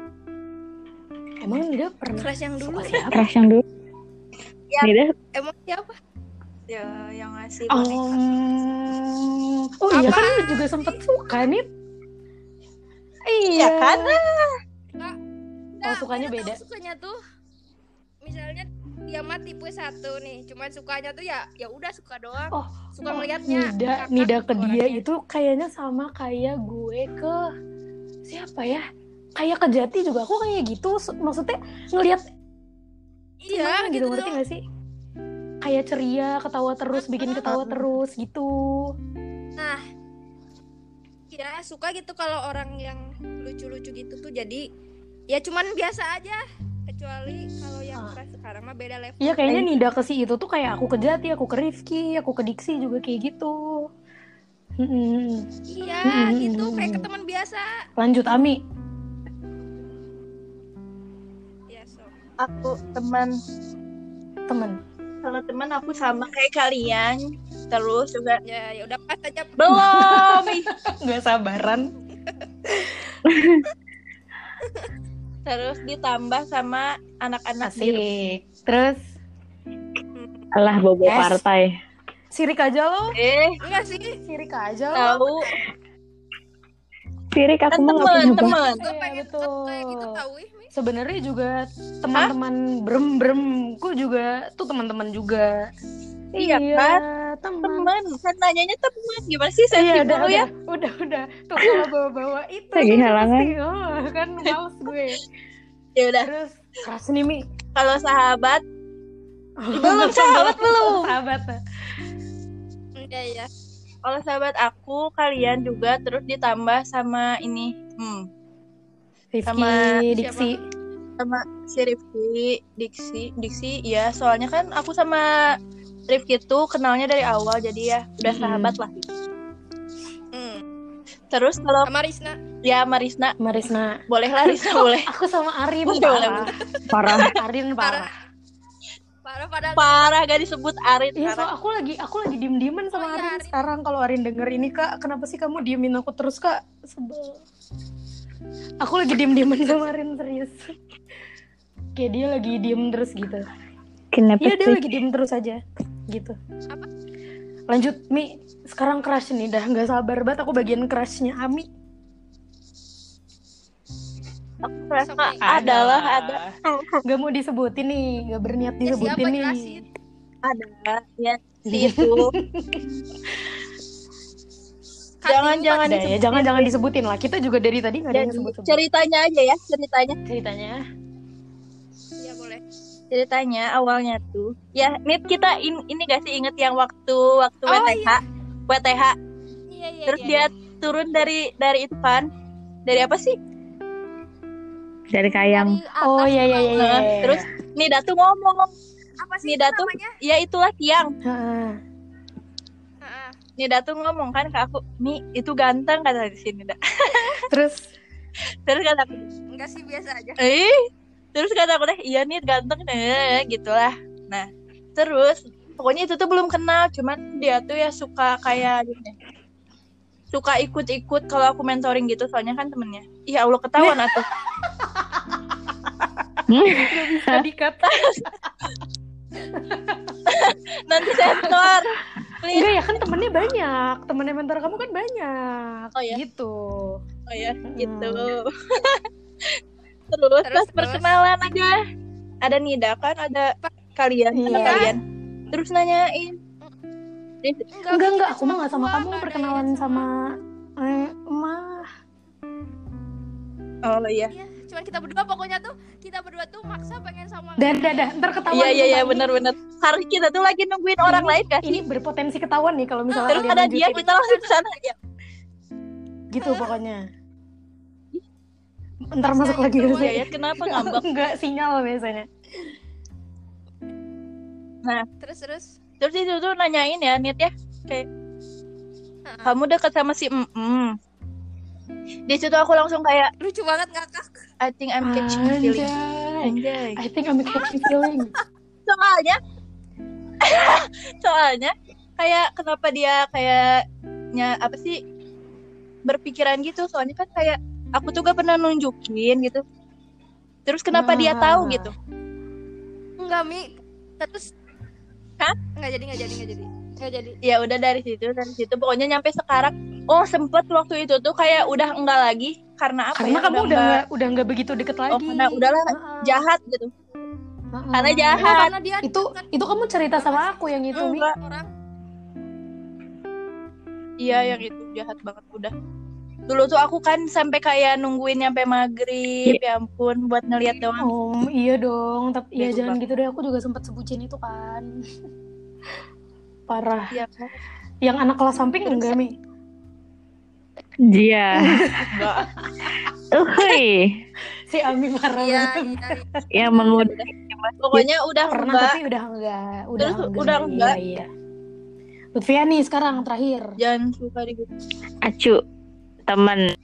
S1: Emang Nida pernah
S3: crush yang dulu
S1: suka siapa?
S2: Crush yang dulu.
S1: Iya.
S4: Ya.
S2: Nida
S3: emang siapa
S4: Ya, yang ngasih
S1: Oh,
S4: boneka.
S1: oh iya kan
S3: Apaan
S1: lu juga sempet suka nih.
S4: Iya kan?
S3: Nah,
S1: Oh, sukanya
S3: mana tahu
S1: beda.
S3: sukanya tuh misalnya dia mah tipe satu nih cuman sukanya tuh ya ya udah suka doang
S1: Oh,
S3: suka
S1: Oh,
S3: ngelihatnya
S1: Nida,
S3: Kakak
S1: Nida ke
S3: gitu
S1: dia
S3: orangnya.
S1: itu kayaknya sama kayak gue ke siapa ya? Kayak ke Jati juga aku kayak gitu. S- Maksudnya ngelihat
S3: iya
S1: teman gitu,
S3: gitu,
S1: ngerti
S3: doang. Kan
S1: gak sih? Kayak ceria, ketawa terus, bikin ketawa terus gitu.
S3: Nah, ya suka gitu kalau orang yang lucu-lucu gitu tuh jadi ya cuman biasa aja kecuali kalau yang
S1: Ah.
S3: keras sekarang mah beda level.
S1: Iya kayaknya Nida ke si itu tuh kayak aku ke
S4: Hmm.
S1: Jati, aku ke Rifki, aku ke Diksi juga kayak gitu. Mm-mm.
S3: Iya,
S1: Mm, mm,
S3: gitu
S1: mm,
S3: kayak
S1: mm.
S3: ke teman biasa.
S1: Lanjut Ami.
S3: Ya, so.
S4: Aku teman
S1: temen
S4: kalau teman aku sama kayak kalian terus juga
S3: Ya, ya udah pas aja.
S4: belum ih.
S1: nggak sabaran
S4: terus ditambah sama anak-anak biru
S1: asik terus
S2: lah bobo
S1: Yes.
S2: partai.
S1: sirik aja lo
S4: eh
S3: Enggak sih,
S1: sirik aja lo
S4: tahu
S2: Sirik aku
S4: kan
S2: mah nggak
S4: teman
S2: punya bos.
S4: teman
S1: Iya,
S3: gue pengen
S1: betul.
S3: tetep kayak gitu tahu ih. Mi.
S1: sebenarnya juga teman-teman brem bremku juga tuh teman-teman juga
S4: Iya, kan?
S1: teman
S4: teman kan nanyanya teman gimana sih sensi
S1: Iya,
S4: dulu
S1: udah,
S4: ya
S1: udah, udah, udah. Tuh kalau bawa-bawa itu.
S2: Lagi
S1: tuh
S2: halangan.
S1: pasti, oh, kan males gue.
S4: ya udah
S1: Terus, keras nih, Mi.
S4: kalau sahabat belum sahabat belum
S1: Sahabat.
S3: Iya, iya.
S4: kalau sahabat aku kalian juga terus ditambah sama ini hmm,
S1: Rifki,
S4: Sama
S1: Diksi.
S4: sama si Rifki Diksi Diksi ya soalnya kan aku sama
S1: Hmm.
S4: Rifki tuh kenalnya dari awal jadi ya udah
S1: Mm.
S4: sahabat lah
S3: Hmm.
S4: Terus kalau
S3: sama Risna
S4: ya Marisna,
S1: Marisna.
S4: bolehlah Risna boleh.
S1: Aku sama Arin
S4: Boleh,
S1: parah.
S2: Parah.
S1: Arin parah.
S3: parah parah pada
S4: Parah gak disebut Arin
S1: Iya, so
S4: parah.
S1: aku lagi aku lagi diem-dieman
S3: Oh,
S1: sama
S3: iya,
S1: Arin
S3: Arin.
S1: sekarang kalau Arin denger ini Kak, kenapa sih kamu diemin aku terus Kak? Sebel. Aku lagi diem-dieman sama Arin serius. Kayak dia lagi diem terus gitu.
S2: Kenapa
S1: Iya dia
S2: sih?
S1: lagi diem terus aja gitu.
S3: Apa?
S1: Lanjut Mi, sekarang crush nih dah nggak sabar banget aku bagian crushnya Ah, Ami.
S4: Risna
S3: Sampai-
S4: adalah ada
S1: Nggak mau disebutin nih, nggak berniat
S3: Ya,
S1: disebutin
S3: siapa
S1: nih.
S3: jelasin
S4: ada ya si itu.
S3: Kak,
S4: Jangan-
S3: Ibu,
S4: jangan.
S3: Kak.
S1: Udah ya, jangan jangan disebutin lah. Kita juga dari tadi nggak ada
S4: Dan
S1: yang sebut
S4: ceritanya aja ya, ceritanya.
S1: ceritanya.
S3: Iya, boleh
S4: Ceritanya awalnya tuh ya ini kita in- ini gak sih inget yang waktu waktu
S3: Oh,
S4: WTH, WTH.
S3: iya iya
S4: Terus
S3: iya,
S4: dia
S3: iya.
S4: turun dari dari itu kan. Dari apa sih?
S2: Dari kayang.
S3: Dari atas
S1: Oh iya iya iya.
S4: Nah,
S1: iya, iya.
S4: Terus Nida tuh ngomong,
S3: apa sih
S4: Nida
S3: itu
S4: tuh-
S3: namanya
S4: ya itulah tiang.
S1: Heeh.
S3: Heeh.
S4: Nida tuh ngomong kan ke aku, Mi itu ganteng kata di sini. Nida.
S1: terus
S4: Terus kata aku,
S3: enggak sih biasa aja
S4: eh, terus kata aku deh, iya nih ganteng deh, gitulah. Nah, terus pokoknya itu tuh belum kenal, cuman dia tuh ya suka kayak gini. suka ikut-ikut kalau aku mentoring gitu soalnya kan temennya iya Allah ketahuan atuh
S1: tadi kata
S4: nanti sensor
S1: enggak ya kan temennya banyak temennya mentor kamu kan banyak
S4: Oh, iya.
S1: gitu
S4: oh ya gitu
S1: Hmm.
S4: terus,
S3: Terus,
S4: pas
S3: terus.
S4: perkenalan ada ada Nida kan ada kalian ada
S1: Iya.
S4: kalian terus nanyain Terus,
S1: enggak
S3: Mi,
S1: enggak
S3: itu
S1: aku mah nggak sama
S3: gua,
S1: kamu
S3: nggak ada
S1: perkenalan
S3: yang
S1: sama eh, mah
S4: oh iya
S3: Iya, cuman kita berdua pokoknya tuh kita berdua tuh maksa pengen sama
S1: dan dadah ntar ketahuan
S4: iya iya
S1: sama
S4: iya
S1: ini.
S4: benar-benar harus kita tuh lagi nungguin orang lain kan
S1: ini berpotensi ketahuan nih kalau misalnya
S4: terus
S1: kalian
S4: ada dia
S1: lanjutin.
S4: kita langsung ke sana ya
S1: gitu pokoknya ntar masuk
S3: Saya
S1: lagi
S3: keluar
S1: sih
S4: ya kenapa ngambek
S1: enggak sinyal biasanya
S3: terus terus
S4: terus itu tuh nanyain ya Nid ya kayak
S3: Heeh.
S4: kamu dekat sama si mm -mm. di situ aku langsung kayak
S3: lucu banget ngakak
S4: I think I'm catching a feeling
S1: Anjay.
S4: Anjay.
S1: I think I'm catching feeling
S4: soalnya soalnya kayak kenapa dia kayaknya apa sih berpikiran gitu soalnya kan kayak aku tuh gak pernah nunjukin gitu terus kenapa dia
S1: Ah.
S4: tahu gitu
S3: enggak mi terus
S4: Hah?
S3: enggak jadi enggak jadi enggak jadi enggak jadi
S4: ya udah dari situ dari situ pokoknya nyampe sekarang oh sempet waktu itu tuh kayak udah enggak lagi karena apa
S1: karena
S4: ya
S1: kamu udah
S4: enggak-
S1: nggak udah nggak begitu deket lagi Ah.
S4: oh karena udahlah
S1: Heeh.
S4: jahat gitu
S1: Heeh.
S4: karena jahat
S3: Enggak, karena dia
S1: itu
S3: kan
S1: itu kamu cerita sama aku yang itu Mi.
S4: Enggak.
S3: orang
S4: iya yang itu jahat banget udah dulu tuh aku kan sampai kayak nungguin nyampe maghrib ya ampun buat ngeliat doang
S1: Om, iya dong, tapi ya
S4: Bego
S1: jangan gitu deh. Aku juga sempat sebutin itu kan. Parah.
S4: Iya kan?
S1: Yang anak kelas samping enggak, Mi?
S2: Dia.
S4: Enggak.
S2: Uhuy.
S1: Si Ami parah
S3: iya
S1: banget.
S3: iya
S2: Yang menggoda.
S4: Pokoknya udah
S1: Pernah
S4: enggak.
S1: tapi udah enggak, udah
S4: Terus
S1: enggak.
S4: udah enggak.
S1: Iya, iya. Lutfia nih sekarang terakhir.
S4: Jangan suka dibuka.
S2: Acu. Temen.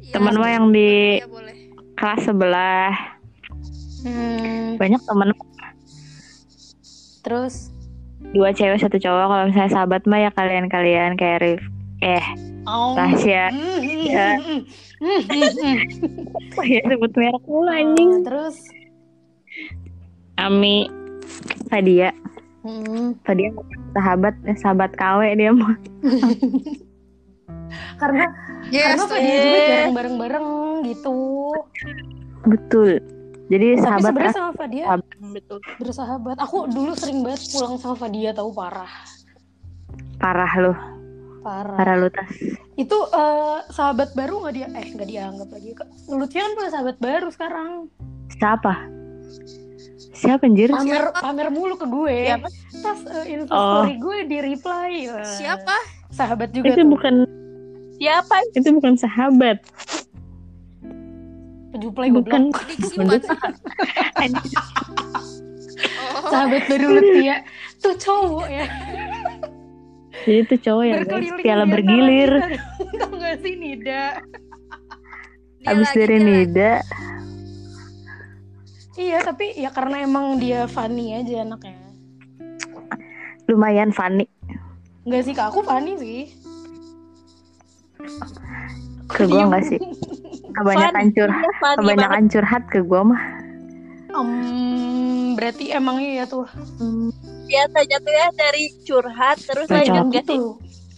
S3: Iya,
S2: Temen mah yang di
S3: iya boleh
S2: kelas sebelah.
S1: Hmm,
S2: Banyak temen.
S1: terus
S2: Dua cewek, satu cowok. Kalau misalnya sahabat mah ya kalian-kalian. Kayak Rif. Eh,
S1: Om.
S2: Tasya.
S1: Hmm, hmm,
S2: Ya.
S1: hmm, hmm, hmm, hmm.
S2: Oh, ya sebut merek mulu anjing.
S1: Ah, Terus
S2: Ami. Fadia.
S1: hmm,
S2: Fadia sahabat. eh, Sahabat KW dia mah.
S1: karena karena apa dia juga
S4: yes.
S1: jarang bareng-bareng gitu.
S2: Betul. Jadi
S1: Tapi
S2: sahabat
S1: sebenarnya sama Fadia
S4: Betul.
S1: bersahabat. Aku dulu sering banget pulang sama Fadia tahu parah,
S2: as- parah loh.
S1: parah.
S2: Parah lu tas.
S1: Itu eh, sahabat baru nggak dia? Eh nggak dianggap lagi. Kak. Lutfi kan punya sahabat baru sekarang.
S2: Siapa? Siapa anjir?
S4: Oh,
S1: Pamer pamer mulu ke gue.
S4: Siapa?
S1: Tas eh, Insta
S2: Oh.
S1: story gue di reply. Wah,
S3: siapa
S1: Sahabat juga
S2: Itu
S1: tuh.
S2: bukan
S4: Siapa?
S2: itu bukan sahabat.
S1: Pejuplay
S2: bukan
S1: goblok.
S3: diksi banget oh
S1: Sahabat baru Lutfi ya. Tuh cowok ya.
S2: Jadi tuh cowok ya guys,
S1: berkeliling
S2: piala
S1: di antara
S2: bergilir.
S1: kita. Tau gak sih Nida?
S3: Dia
S2: Habis
S3: lagi, kan.
S2: dari
S3: dia lagi.
S2: Nida,
S1: Iya tapi ya karena emang dia funny aja anaknya.
S2: lumayan funny.
S1: Enggak sih kak, aku funny sih.
S2: Ke
S1: Diem.
S2: gua enggak sih. Kebanyakan curhat,
S4: Iya, funny banget.
S2: kebanyakan curhat ke gua mah.
S1: Em, berarti emang iya tuh.
S4: biasa jatuhnya ya, dari curhat terus
S2: Bacot.
S4: lanjut
S1: Emang
S4: gak sih?
S1: gitu.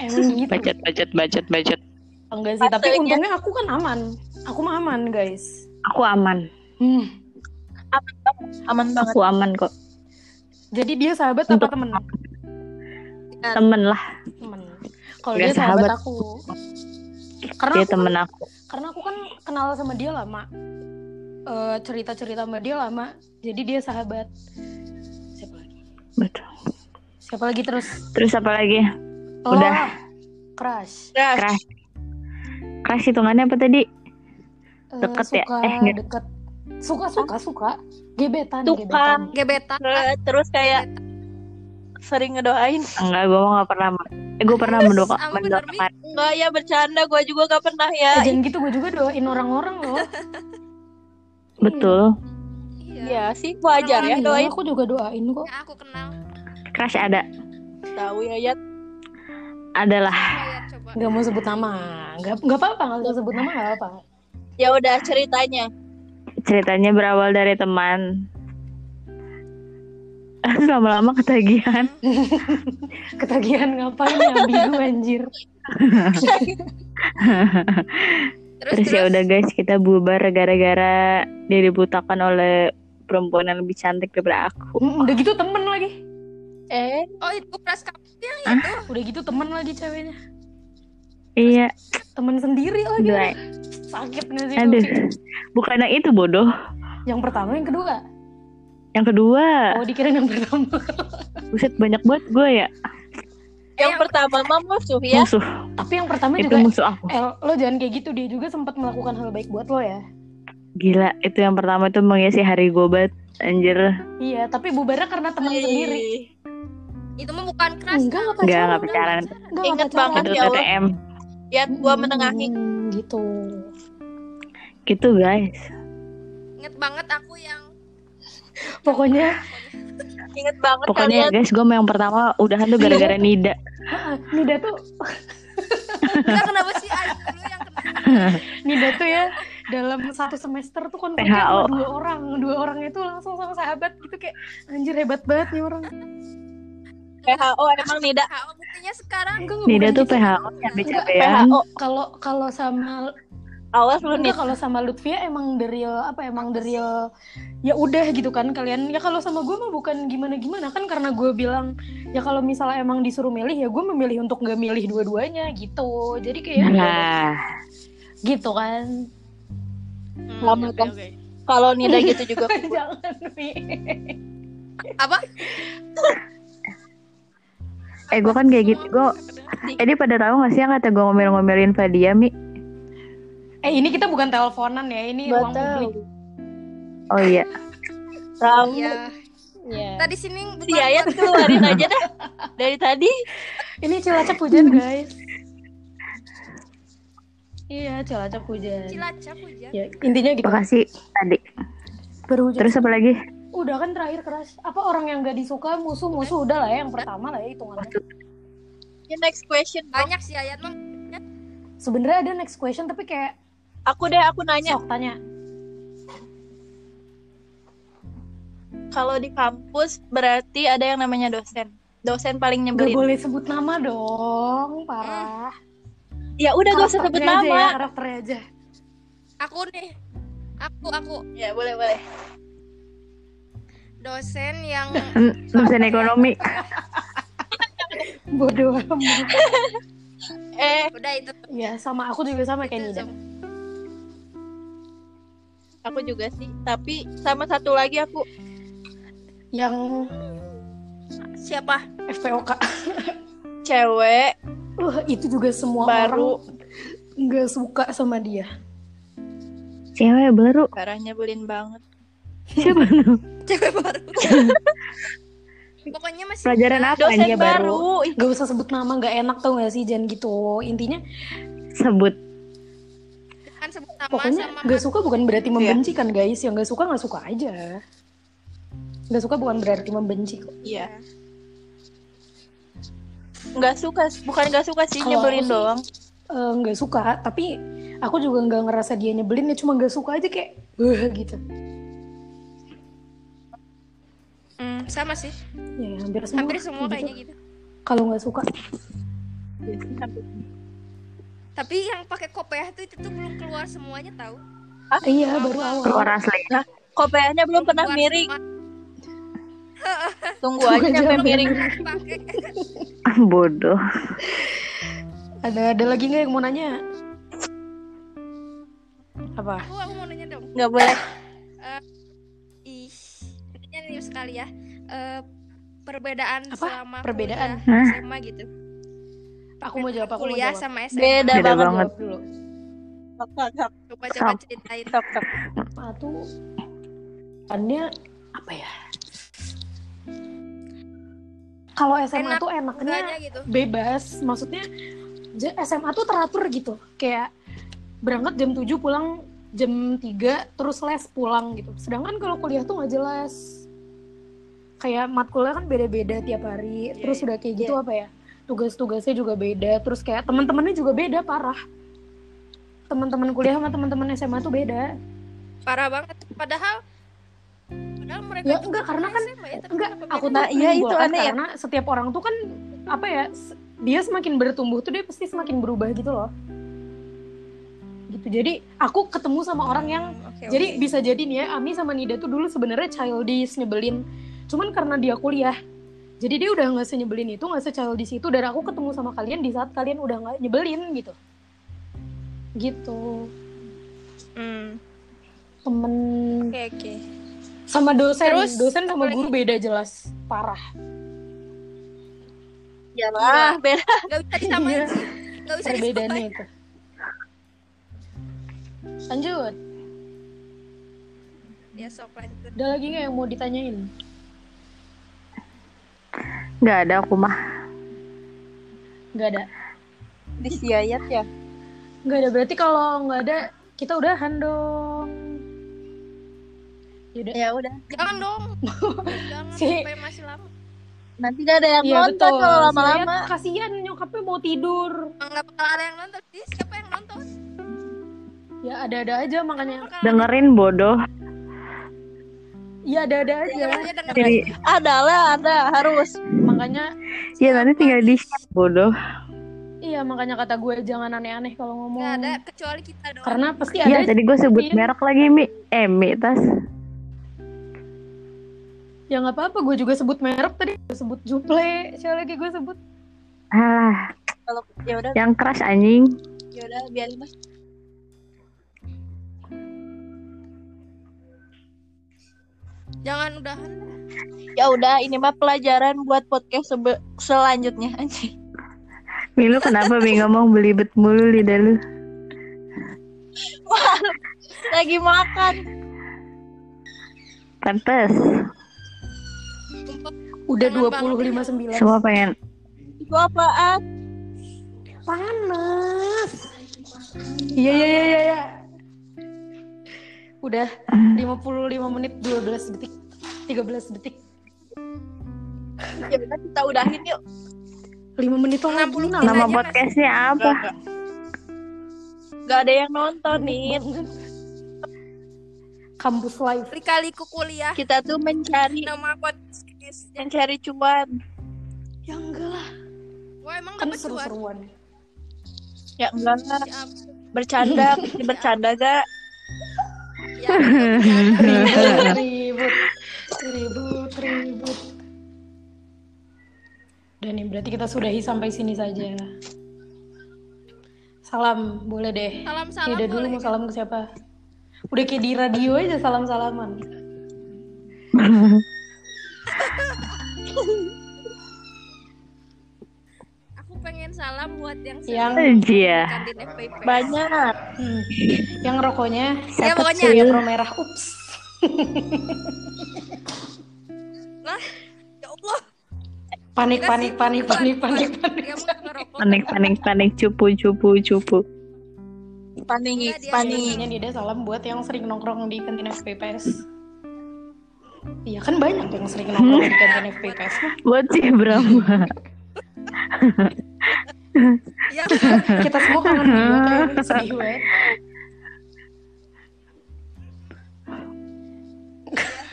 S1: Emang gitu. Oh,
S2: Budget, budget, budget, budget.
S1: Enggak sih, tapi
S4: Patutnya.
S1: untungnya aku kan aman. Aku mah aman, guys.
S2: Aku aman,
S1: Hmm.
S4: aman banget
S2: aku aman kok.
S1: Jadi dia sahabat apa
S2: Untuk-
S1: temen?
S2: Temen lah,
S1: Temen. Kalau
S2: Dia
S1: dia sahabat,
S2: sahabat.
S1: aku. Karena
S2: dia
S1: aku, kan,
S2: temen aku.
S1: karena aku kan kenal sama dia lama. Eh, cerita-cerita sama dia lama. Jadi dia sahabat. Siapa lagi?
S2: Betul.
S1: Siapa lagi terus?
S2: Terus apa lagi?
S1: Lo
S2: Udah.
S1: lah. Crush.
S4: Crush.
S2: Crush. Crush hitungannya apa tadi?
S1: Eh,
S2: Deket ya?
S1: suka,
S2: Eh, enggak.
S1: deket. Suka, suka, suka. Gebetan,
S4: Suka.
S1: gebetan.
S3: gebetan
S4: Eh, terus kayak sering ngedoain
S2: Enggak, gua mah nggak pernah. Eh, gua pernah mendoa,
S3: Aku bener, Mi.
S2: mendoakan.
S4: enggak ya bercanda gue juga gak pernah
S1: Eh,
S4: ya
S1: jangan gitu, gue juga doain orang-orang loh.
S2: Betul.
S3: iya
S4: Iya sih wajar ya
S1: Iya,
S4: doain
S1: Aku juga doain kok.
S3: yang aku kenal
S2: Crush ada,
S4: tahu ya ya
S2: adalah.
S3: Lihat Iya, coba
S1: Gak mau sebut nama. Gak, gak apa-apa, gak usah sebut nama gak apa-apa.
S4: ya udah ceritanya
S2: Ceritanya berawal dari teman. Lama-lama ketagihan.
S1: Ketagihan ngapain ya, ambigu anjir.
S3: terus
S2: Terus ya udah guys, kita bubar gara-gara dia dibutakan oleh perempuan yang lebih cantik daripada aku.
S1: Mm, Udah gitu temen lagi.
S4: eh
S3: oh itu kelas kamu yang itu
S1: Udah gitu temen lagi ceweknya.
S2: Iya,
S1: Temen sendiri lagi.
S2: dua.
S1: Sakit gak sih?
S2: Aduh,
S1: Lucy?
S2: bukan yang itu bodoh.
S1: Yang pertama, yang kedua.
S2: Yang kedua,
S1: Oh, dikira yang pertama.
S2: buset banyak banget gue ya
S4: yang
S3: yang
S4: pertama mah musuh ya
S2: musuh.
S1: Tapi yang pertama
S2: Itu
S1: juga...
S2: musuh aku.
S1: El, lo jangan kayak gitu. Dia juga sempat melakukan hal baik buat lo ya.
S2: Gila, itu yang pertama itu mengisi hari gobat. Anjir,
S1: Iya, tapi bubarnya karena temen
S4: Ih,
S1: sendiri.
S3: itu mah bukan kelas
S1: Enggak, gak
S2: Enggak,
S1: pacaran.
S2: nggak pacaran.
S1: Enggak,
S4: Ingat
S1: pacaran.
S4: banget
S2: Itu
S4: ya Allah.
S2: TTM.
S4: ya gue menengahi
S1: Hmm, gitu.
S2: Gitu guys.
S3: inget banget aku yang
S1: Pokoknya
S4: inget banget kan,
S2: Pokoknya
S4: kalian
S2: guys, gue yang pertama udahan tuh gara-gara Nida.
S1: Nida tuh
S3: enggak kenapa sih Ayu dulu yang kenal
S1: Nida tuh ya dalam satu semester tuh konfliknya sama
S2: THO.
S1: dua orang dua orang itu langsung sama sahabat gitu kayak anjir hebat banget nih orang
S4: PHO emang tidak
S3: Kau buktinya sekarang Hmm.
S1: enggak
S2: Nida
S1: bukan
S2: tuh
S1: gitu.
S2: PHO cabe-cabean.
S4: PHO
S1: kalau kalau sama
S4: awas lu nih
S1: enggak kalau sama Lutfia emang the real apa emang the real ya udah gitu kan kalian ya kalau sama gue mah bukan gimana gimana kan karena gue bilang ya kalau misalnya emang disuruh milih ya gue memilih untuk gak milih dua-duanya gitu jadi kayak
S2: Nah,
S1: gitu kan
S3: Hmm,
S4: Lama,
S3: oke,
S4: Tom.
S3: oke.
S4: kalau Nida gitu juga
S1: jangan Mi.
S3: apa
S2: eh gue kan kayak gitu. Gue Eh dia pada tahu gak sih yang kata gue ngomel-ngomelin Fadia Mi?
S1: eh ini kita bukan teleponan ya ini ruang
S4: Betul.
S1: publik
S2: Oh iya,
S4: tahu
S3: iya
S1: Iya.
S3: tadi sini
S4: si Yayat keluarin aja dah dari tadi
S1: Ini cilacap hujan guys. iya cilacap hujan.
S3: cilacap hujan
S1: Ya, intinya gitu.
S2: makasih tadi.
S1: Berhujan.
S2: Terus apa lagi?
S1: udah kan terakhir keras. Apa orang yang gak disuka musuh musuh udah lah ya yang pertama lah ya hitungannya.
S4: Ini next question
S3: banyak sih ayat mah
S1: Sebenarnya ada next question tapi kayak
S4: aku deh aku nanya
S1: sok tanya.
S4: kalau di kampus berarti ada yang namanya dosen dosen paling
S1: Gak
S4: nyebelin
S1: boleh sebut nama dong, parah.
S4: ya udah gak usah
S1: Karakternya
S4: sebut
S1: aja ya,
S4: nama
S1: karakternya aja.
S3: aku nih aku aku
S4: ya boleh boleh
S3: dosen yang
S2: Hmm, Dosen ekonomi.
S1: Bodoh amat.
S4: eh
S3: udah itu
S1: Ya sama aku juga sama
S3: itu
S1: kayak Nida.
S3: Zom.
S4: aku juga sih tapi sama satu lagi aku
S1: Yang
S3: siapa
S1: FPOK.
S4: cewek
S1: Wah, Uh, itu juga semua
S4: Baru.
S1: orang nggak suka sama dia.
S2: Cewek baru.
S4: parah nyebelin banget
S2: Siapa tuh?
S3: cewek baru pokoknya masih
S2: Pelajaran apa yang
S4: dosen
S2: dia baru?
S4: baru, Ih,
S1: Gak usah sebut nama, gak enak tau gak sih Jen gitu. Intinya
S2: Sebut.
S3: kan Iya. sebut nama
S1: pokoknya
S3: sama
S1: gak suka bukan berarti membenci kan guys. Yang gak suka gak suka aja. Gak suka bukan berarti membenci kok.
S4: iya nggak suka bukan nggak suka sih
S1: Kalau aku
S4: nyebelin
S1: sih-
S4: doang
S1: Eh, Gak suka, tapi aku juga gak ngerasa dia nyebelin. Ya cuma gak suka aja kayak "Wah," gitu.
S3: Hmm, sama sih
S1: Ya hampir semua.
S3: hampir semua
S1: gitu.
S3: kayaknya gitu
S1: Kalau gak suka.
S3: tapi yang pakai kopiah tuh itu tuh belum keluar semuanya tahu
S1: Ah, iya baru awal.
S2: Keluar asli.
S4: kopiahnya belum pernah
S3: Keluar
S4: miring
S3: semua.
S4: tunggu
S1: Tunggu
S4: aja
S1: aja
S4: sampai
S1: sampai
S4: miring
S3: pakai
S2: Ah, Bodoh.
S1: Ada ada lagi nggak yang mau nanya? Apa?
S3: aku aku mau nanya dong
S4: nggak boleh
S3: ih nanya nih sekali ya Eh, perbedaan
S1: Apa?
S3: selama
S1: Perbedaan?
S3: kuliah,
S2: Hah?
S3: SMA gitu
S1: Aku mau jawab. Aku mau
S3: kuliah
S1: jawab.
S3: sama SMA
S4: beda
S2: Beda
S4: banget
S2: banget.
S1: Jawab dulu.
S4: Tok, tok, tok,
S3: coba coba
S2: Sama.
S3: ceritain
S4: tok, tok.
S1: Nah, tuh annya apa ya? Kalau SMA
S3: Enak,
S1: tuh enaknya
S3: enggaknya gitu
S1: bebas, maksudnya j- SMA tuh teratur gitu. Kayak berangkat jam 7 pulang jam 3 terus les pulang gitu. Sedangkan kalau kuliah tuh nggak jelas. Kayak matkulnya kan beda-beda tiap hari.
S4: Iya,
S1: terus
S4: iya.
S1: udah kayak gitu apa ya? Tugas-tugasnya juga beda, terus kayak teman-temannya juga beda parah. Teman-teman kuliah sama teman-teman SMA tuh beda.
S3: parah banget padahal padahal mereka
S1: Ya,
S3: juga
S1: enggak, karena
S3: punya SMA ya, tapi
S1: Enggak,
S3: kenapa
S1: aku tuh
S3: beda?
S4: Nah, iya, itu
S1: menyimpulkan
S4: aneh ya.
S1: karena setiap orang tuh kan apa ya, se- dia semakin bertumbuh tuh dia pasti semakin berubah gitu loh. Gitu. Jadi aku ketemu sama orang yang
S3: Oke,
S1: jadi
S3: oke.
S1: bisa jadi nih ya, Ami sama Nida tuh dulu sebenarnya childish nyebelin. Cuman karena dia kuliah, jadi dia udah nggak senyebelin itu, nggak se-childish itu. Dan aku ketemu sama kalian di saat kalian udah nggak nyebelin gitu. Gitu.
S3: Hmm,
S1: Temen
S3: oke oke
S1: sama dosen,
S3: Terus,
S1: dosen sama
S3: apalagi?
S1: guru beda jelas, parah.
S4: ya lah beda
S3: nggak bisa disamain
S1: Iya.
S3: sih nggak bisa
S1: perbedaannya
S3: disamain
S1: itu. Lanjut,
S3: ya sok lanjut
S1: ada lagi nggak yang mau ditanyain?
S2: Nggak ada aku mah.
S1: Nggak ada.
S4: disiayat ya
S1: Nggak ada. Berarti kalau nggak ada, kita udahan dong. Yaudah.
S4: ya udah
S3: jangan dong jangan
S1: Si-
S3: sampai masih lama
S4: nanti nggak ada yang
S1: Iya
S4: nonton
S1: betul.
S4: kalau
S1: Soalnya
S4: lama-lama
S1: kasihan nyokapnya mau tidur.
S3: nggak bakal ada yang nonton sih siapa yang nonton
S1: Ya ada-ada aja makanya.
S3: Bakal
S2: Dengerin bodoh.
S1: Iya ada-ada aja.
S3: ada aja dengerin.
S2: Jadi,
S4: ada lah ada harus
S1: Makanya
S2: ya nanti tinggal di bodoh.
S1: iya makanya kata gue jangan aneh-aneh kalau ngomong.
S3: nggak ada kecuali kita doang
S1: Karena pasti ada.
S2: Ya tadi gue sebut
S1: Iya.
S2: merek lagi Mi. Eh Mi tas.
S1: Ya nggak apa-apa. Gue juga sebut merek tadi. Gue sebut Juple. Siapa lagi gue sebut?
S2: Alah,
S4: kalau ya udah
S2: yang keras anjing.
S4: ya udah biarin mas
S3: jangan udahan
S4: ya udah ini mah pelajaran buat podcast sebe- selanjutnya anjing
S2: Mi lu kenapa Mi ngomong belibet mulu lidah lu?
S4: lagi makan
S2: Pantes.
S1: Udah
S3: Jangan
S1: 20.59
S3: banget
S2: Semua pengen
S4: itu apaan
S1: panas. Iya iya iya iya. iya. Udah 55 menit 12 detik 13 detik
S4: ya udah kita udahin yuk
S1: 5 menit lagi
S3: 60
S1: Nala.
S2: nama
S3: aja, Mas.
S2: podcastnya apa?
S4: nggak ada yang nonton nih
S1: Kampus live
S3: kali-kali ke kuliah
S4: kita tuh mencari
S3: nama podcastnya
S4: mencari cuan
S1: Ya enggak lah
S3: wah emang
S1: Kan
S3: dapat cuan
S1: seru-seruan
S4: ya enggak enggak
S3: Ya ampun.
S4: bercanda bercanda gak
S3: Ya ampun, jangan.
S1: Ribut Ribut Ribut Ribut Dan nih berarti kita sudahi sampai sini saja Salam boleh deh
S3: salam-salam
S1: Nida dulu
S3: boleh.
S1: mau salam ke siapa? Udah kayak di radio aja salam-salaman.
S3: aku pengen salam buat yang
S1: Yang Ya.
S2: Iya.
S3: kandid FPP
S4: banyak
S1: hmm, yang rokoknya
S3: ya
S2: Dapat
S3: pokoknya
S2: cuy.
S1: yang merah. Ups.
S3: lah ya Allah
S1: Panik,
S3: Enggak
S1: panik,
S3: sih,
S1: panik,
S3: bukan,
S1: panik,
S3: bukan.
S1: panik, panik.
S3: Dia mau ngerokok.
S2: panik panik panik cupu cupu cupu
S4: panik
S3: Enggak, dia-
S4: panik
S1: Ini Nida Iya, salam buat yang sering nongkrong di kantin FPPS. Iya kan banyak yang sering nongkrong di kantin FPPS. mah.
S2: buat si Brahma
S3: Iya, bener.
S1: Kita semua kangen banget, ya. sedih banget.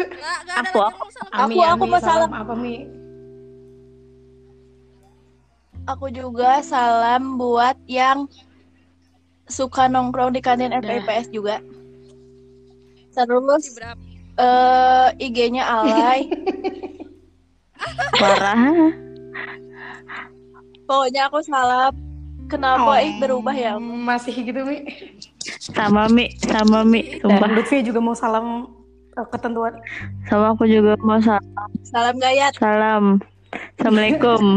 S3: Enggak, enggak ada
S2: Aku-
S3: lagi ngomong salah.
S4: Aku-
S1: Ami,
S4: aku
S1: Ami,
S4: mau salam.
S1: Apa Mi?
S4: aku juga salam buat yang suka nongkrong di kantin RPPS juga
S3: Si
S4: terus
S3: berapa?
S4: eh IG-nya Alay
S2: parah
S4: pokoknya aku salam kenapa ih
S1: Oh,
S4: berubah ya
S1: Masih gitu Mi.
S2: sama mi sama mi
S1: Dan
S2: sumpah
S1: Lutfi juga mau salam eh, ketentuan.
S2: sama aku juga mau sa-
S4: salam gayat
S2: salam assalamualaikum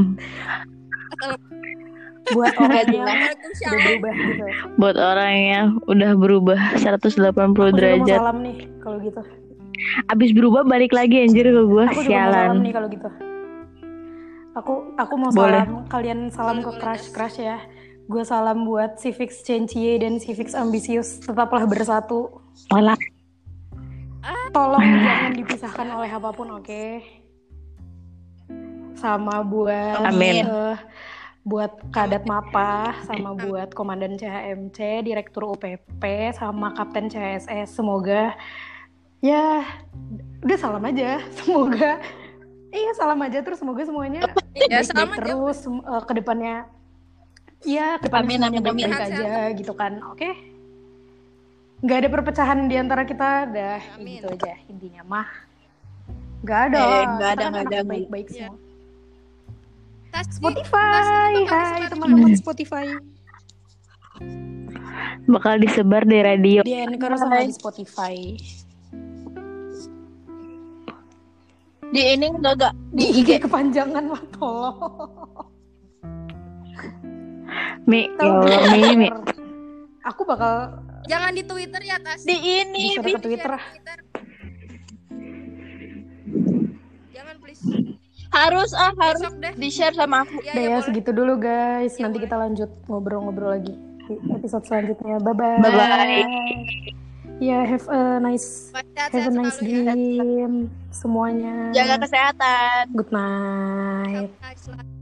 S1: Buat orang yang udah
S3: Waalaikumsalam.
S1: berubah gitu.
S2: buat orang yang udah berubah 180
S1: Aku juga mau
S2: derajat
S1: salam nih kalau gitu.
S2: abis berubah balik lagi anjir ke gue
S1: Aku juga mau salam
S2: sialan
S1: nih kalau gitu. Aku aku mau
S2: Boleh.
S1: salam kalian salam ke crush crush ya. Gue salam buat Civics Cencie dan Civics Ambisius tetaplah bersatu.
S2: Malah
S1: Tolong jangan dipisahkan oleh apapun, oke? Sama buat
S2: Amin.
S1: eh, buat Kadat Mapa, sama buat Komandan CHMC, Direktur UPP, sama Kapten CSS. Semoga ya udah salam aja. Semoga iya salam aja terus semoga semuanya
S3: Ya,
S1: baik-baik
S3: salam aja.
S1: terus sem- eh, ke depannya. Iya, ke depannya
S4: Amin,
S1: semuanya
S4: amin, amin.
S1: baik-baik aja gitu kan. Oke. Nggak ada perpecahan di antara kita, dah ya
S3: Amin.
S1: gitu aja intinya mah. Nggak ada.
S4: Eh,
S1: lah,
S4: nggak ada,
S1: kita kan
S4: nggak ada,
S1: anak
S4: nggak ada.
S1: Baik-baik
S3: Iya.
S1: semua.
S3: Tasdi,
S1: Spotify,
S3: Tasdi, bakal
S1: hai
S3: disebar
S1: teman-teman Spotify.
S2: bakal disebar di radio
S1: Di Anchor sama
S4: Hai.
S1: di Spotify.
S4: di ini enggak enggak
S1: Di IG kepanjangan lah tolong.
S2: mi ya Allah mi mi
S1: Aku bakal
S3: Jangan di Twitter ya, Tas.
S4: di ini
S1: disuruh ke Twitter.
S3: Jangan di Twitter. Jangan please.
S4: harus ah harus
S3: Besok deh.
S4: di share sama aku
S3: Ya,
S1: Udah
S3: ya,
S1: ya,
S3: boleh.
S1: segitu dulu guys.
S3: Ya,
S1: Nanti
S3: boleh.
S1: kita lanjut ngobrol-ngobrol lagi di episode selanjutnya. Bye-bye.
S2: Bye-bye.
S1: Ya, have a nice
S3: Baik,
S1: have
S3: sehat-sehat
S1: a nice
S3: selalu ya.
S1: dream semuanya.
S4: jaga kesehatan
S1: Good night.
S3: Sehat selalu.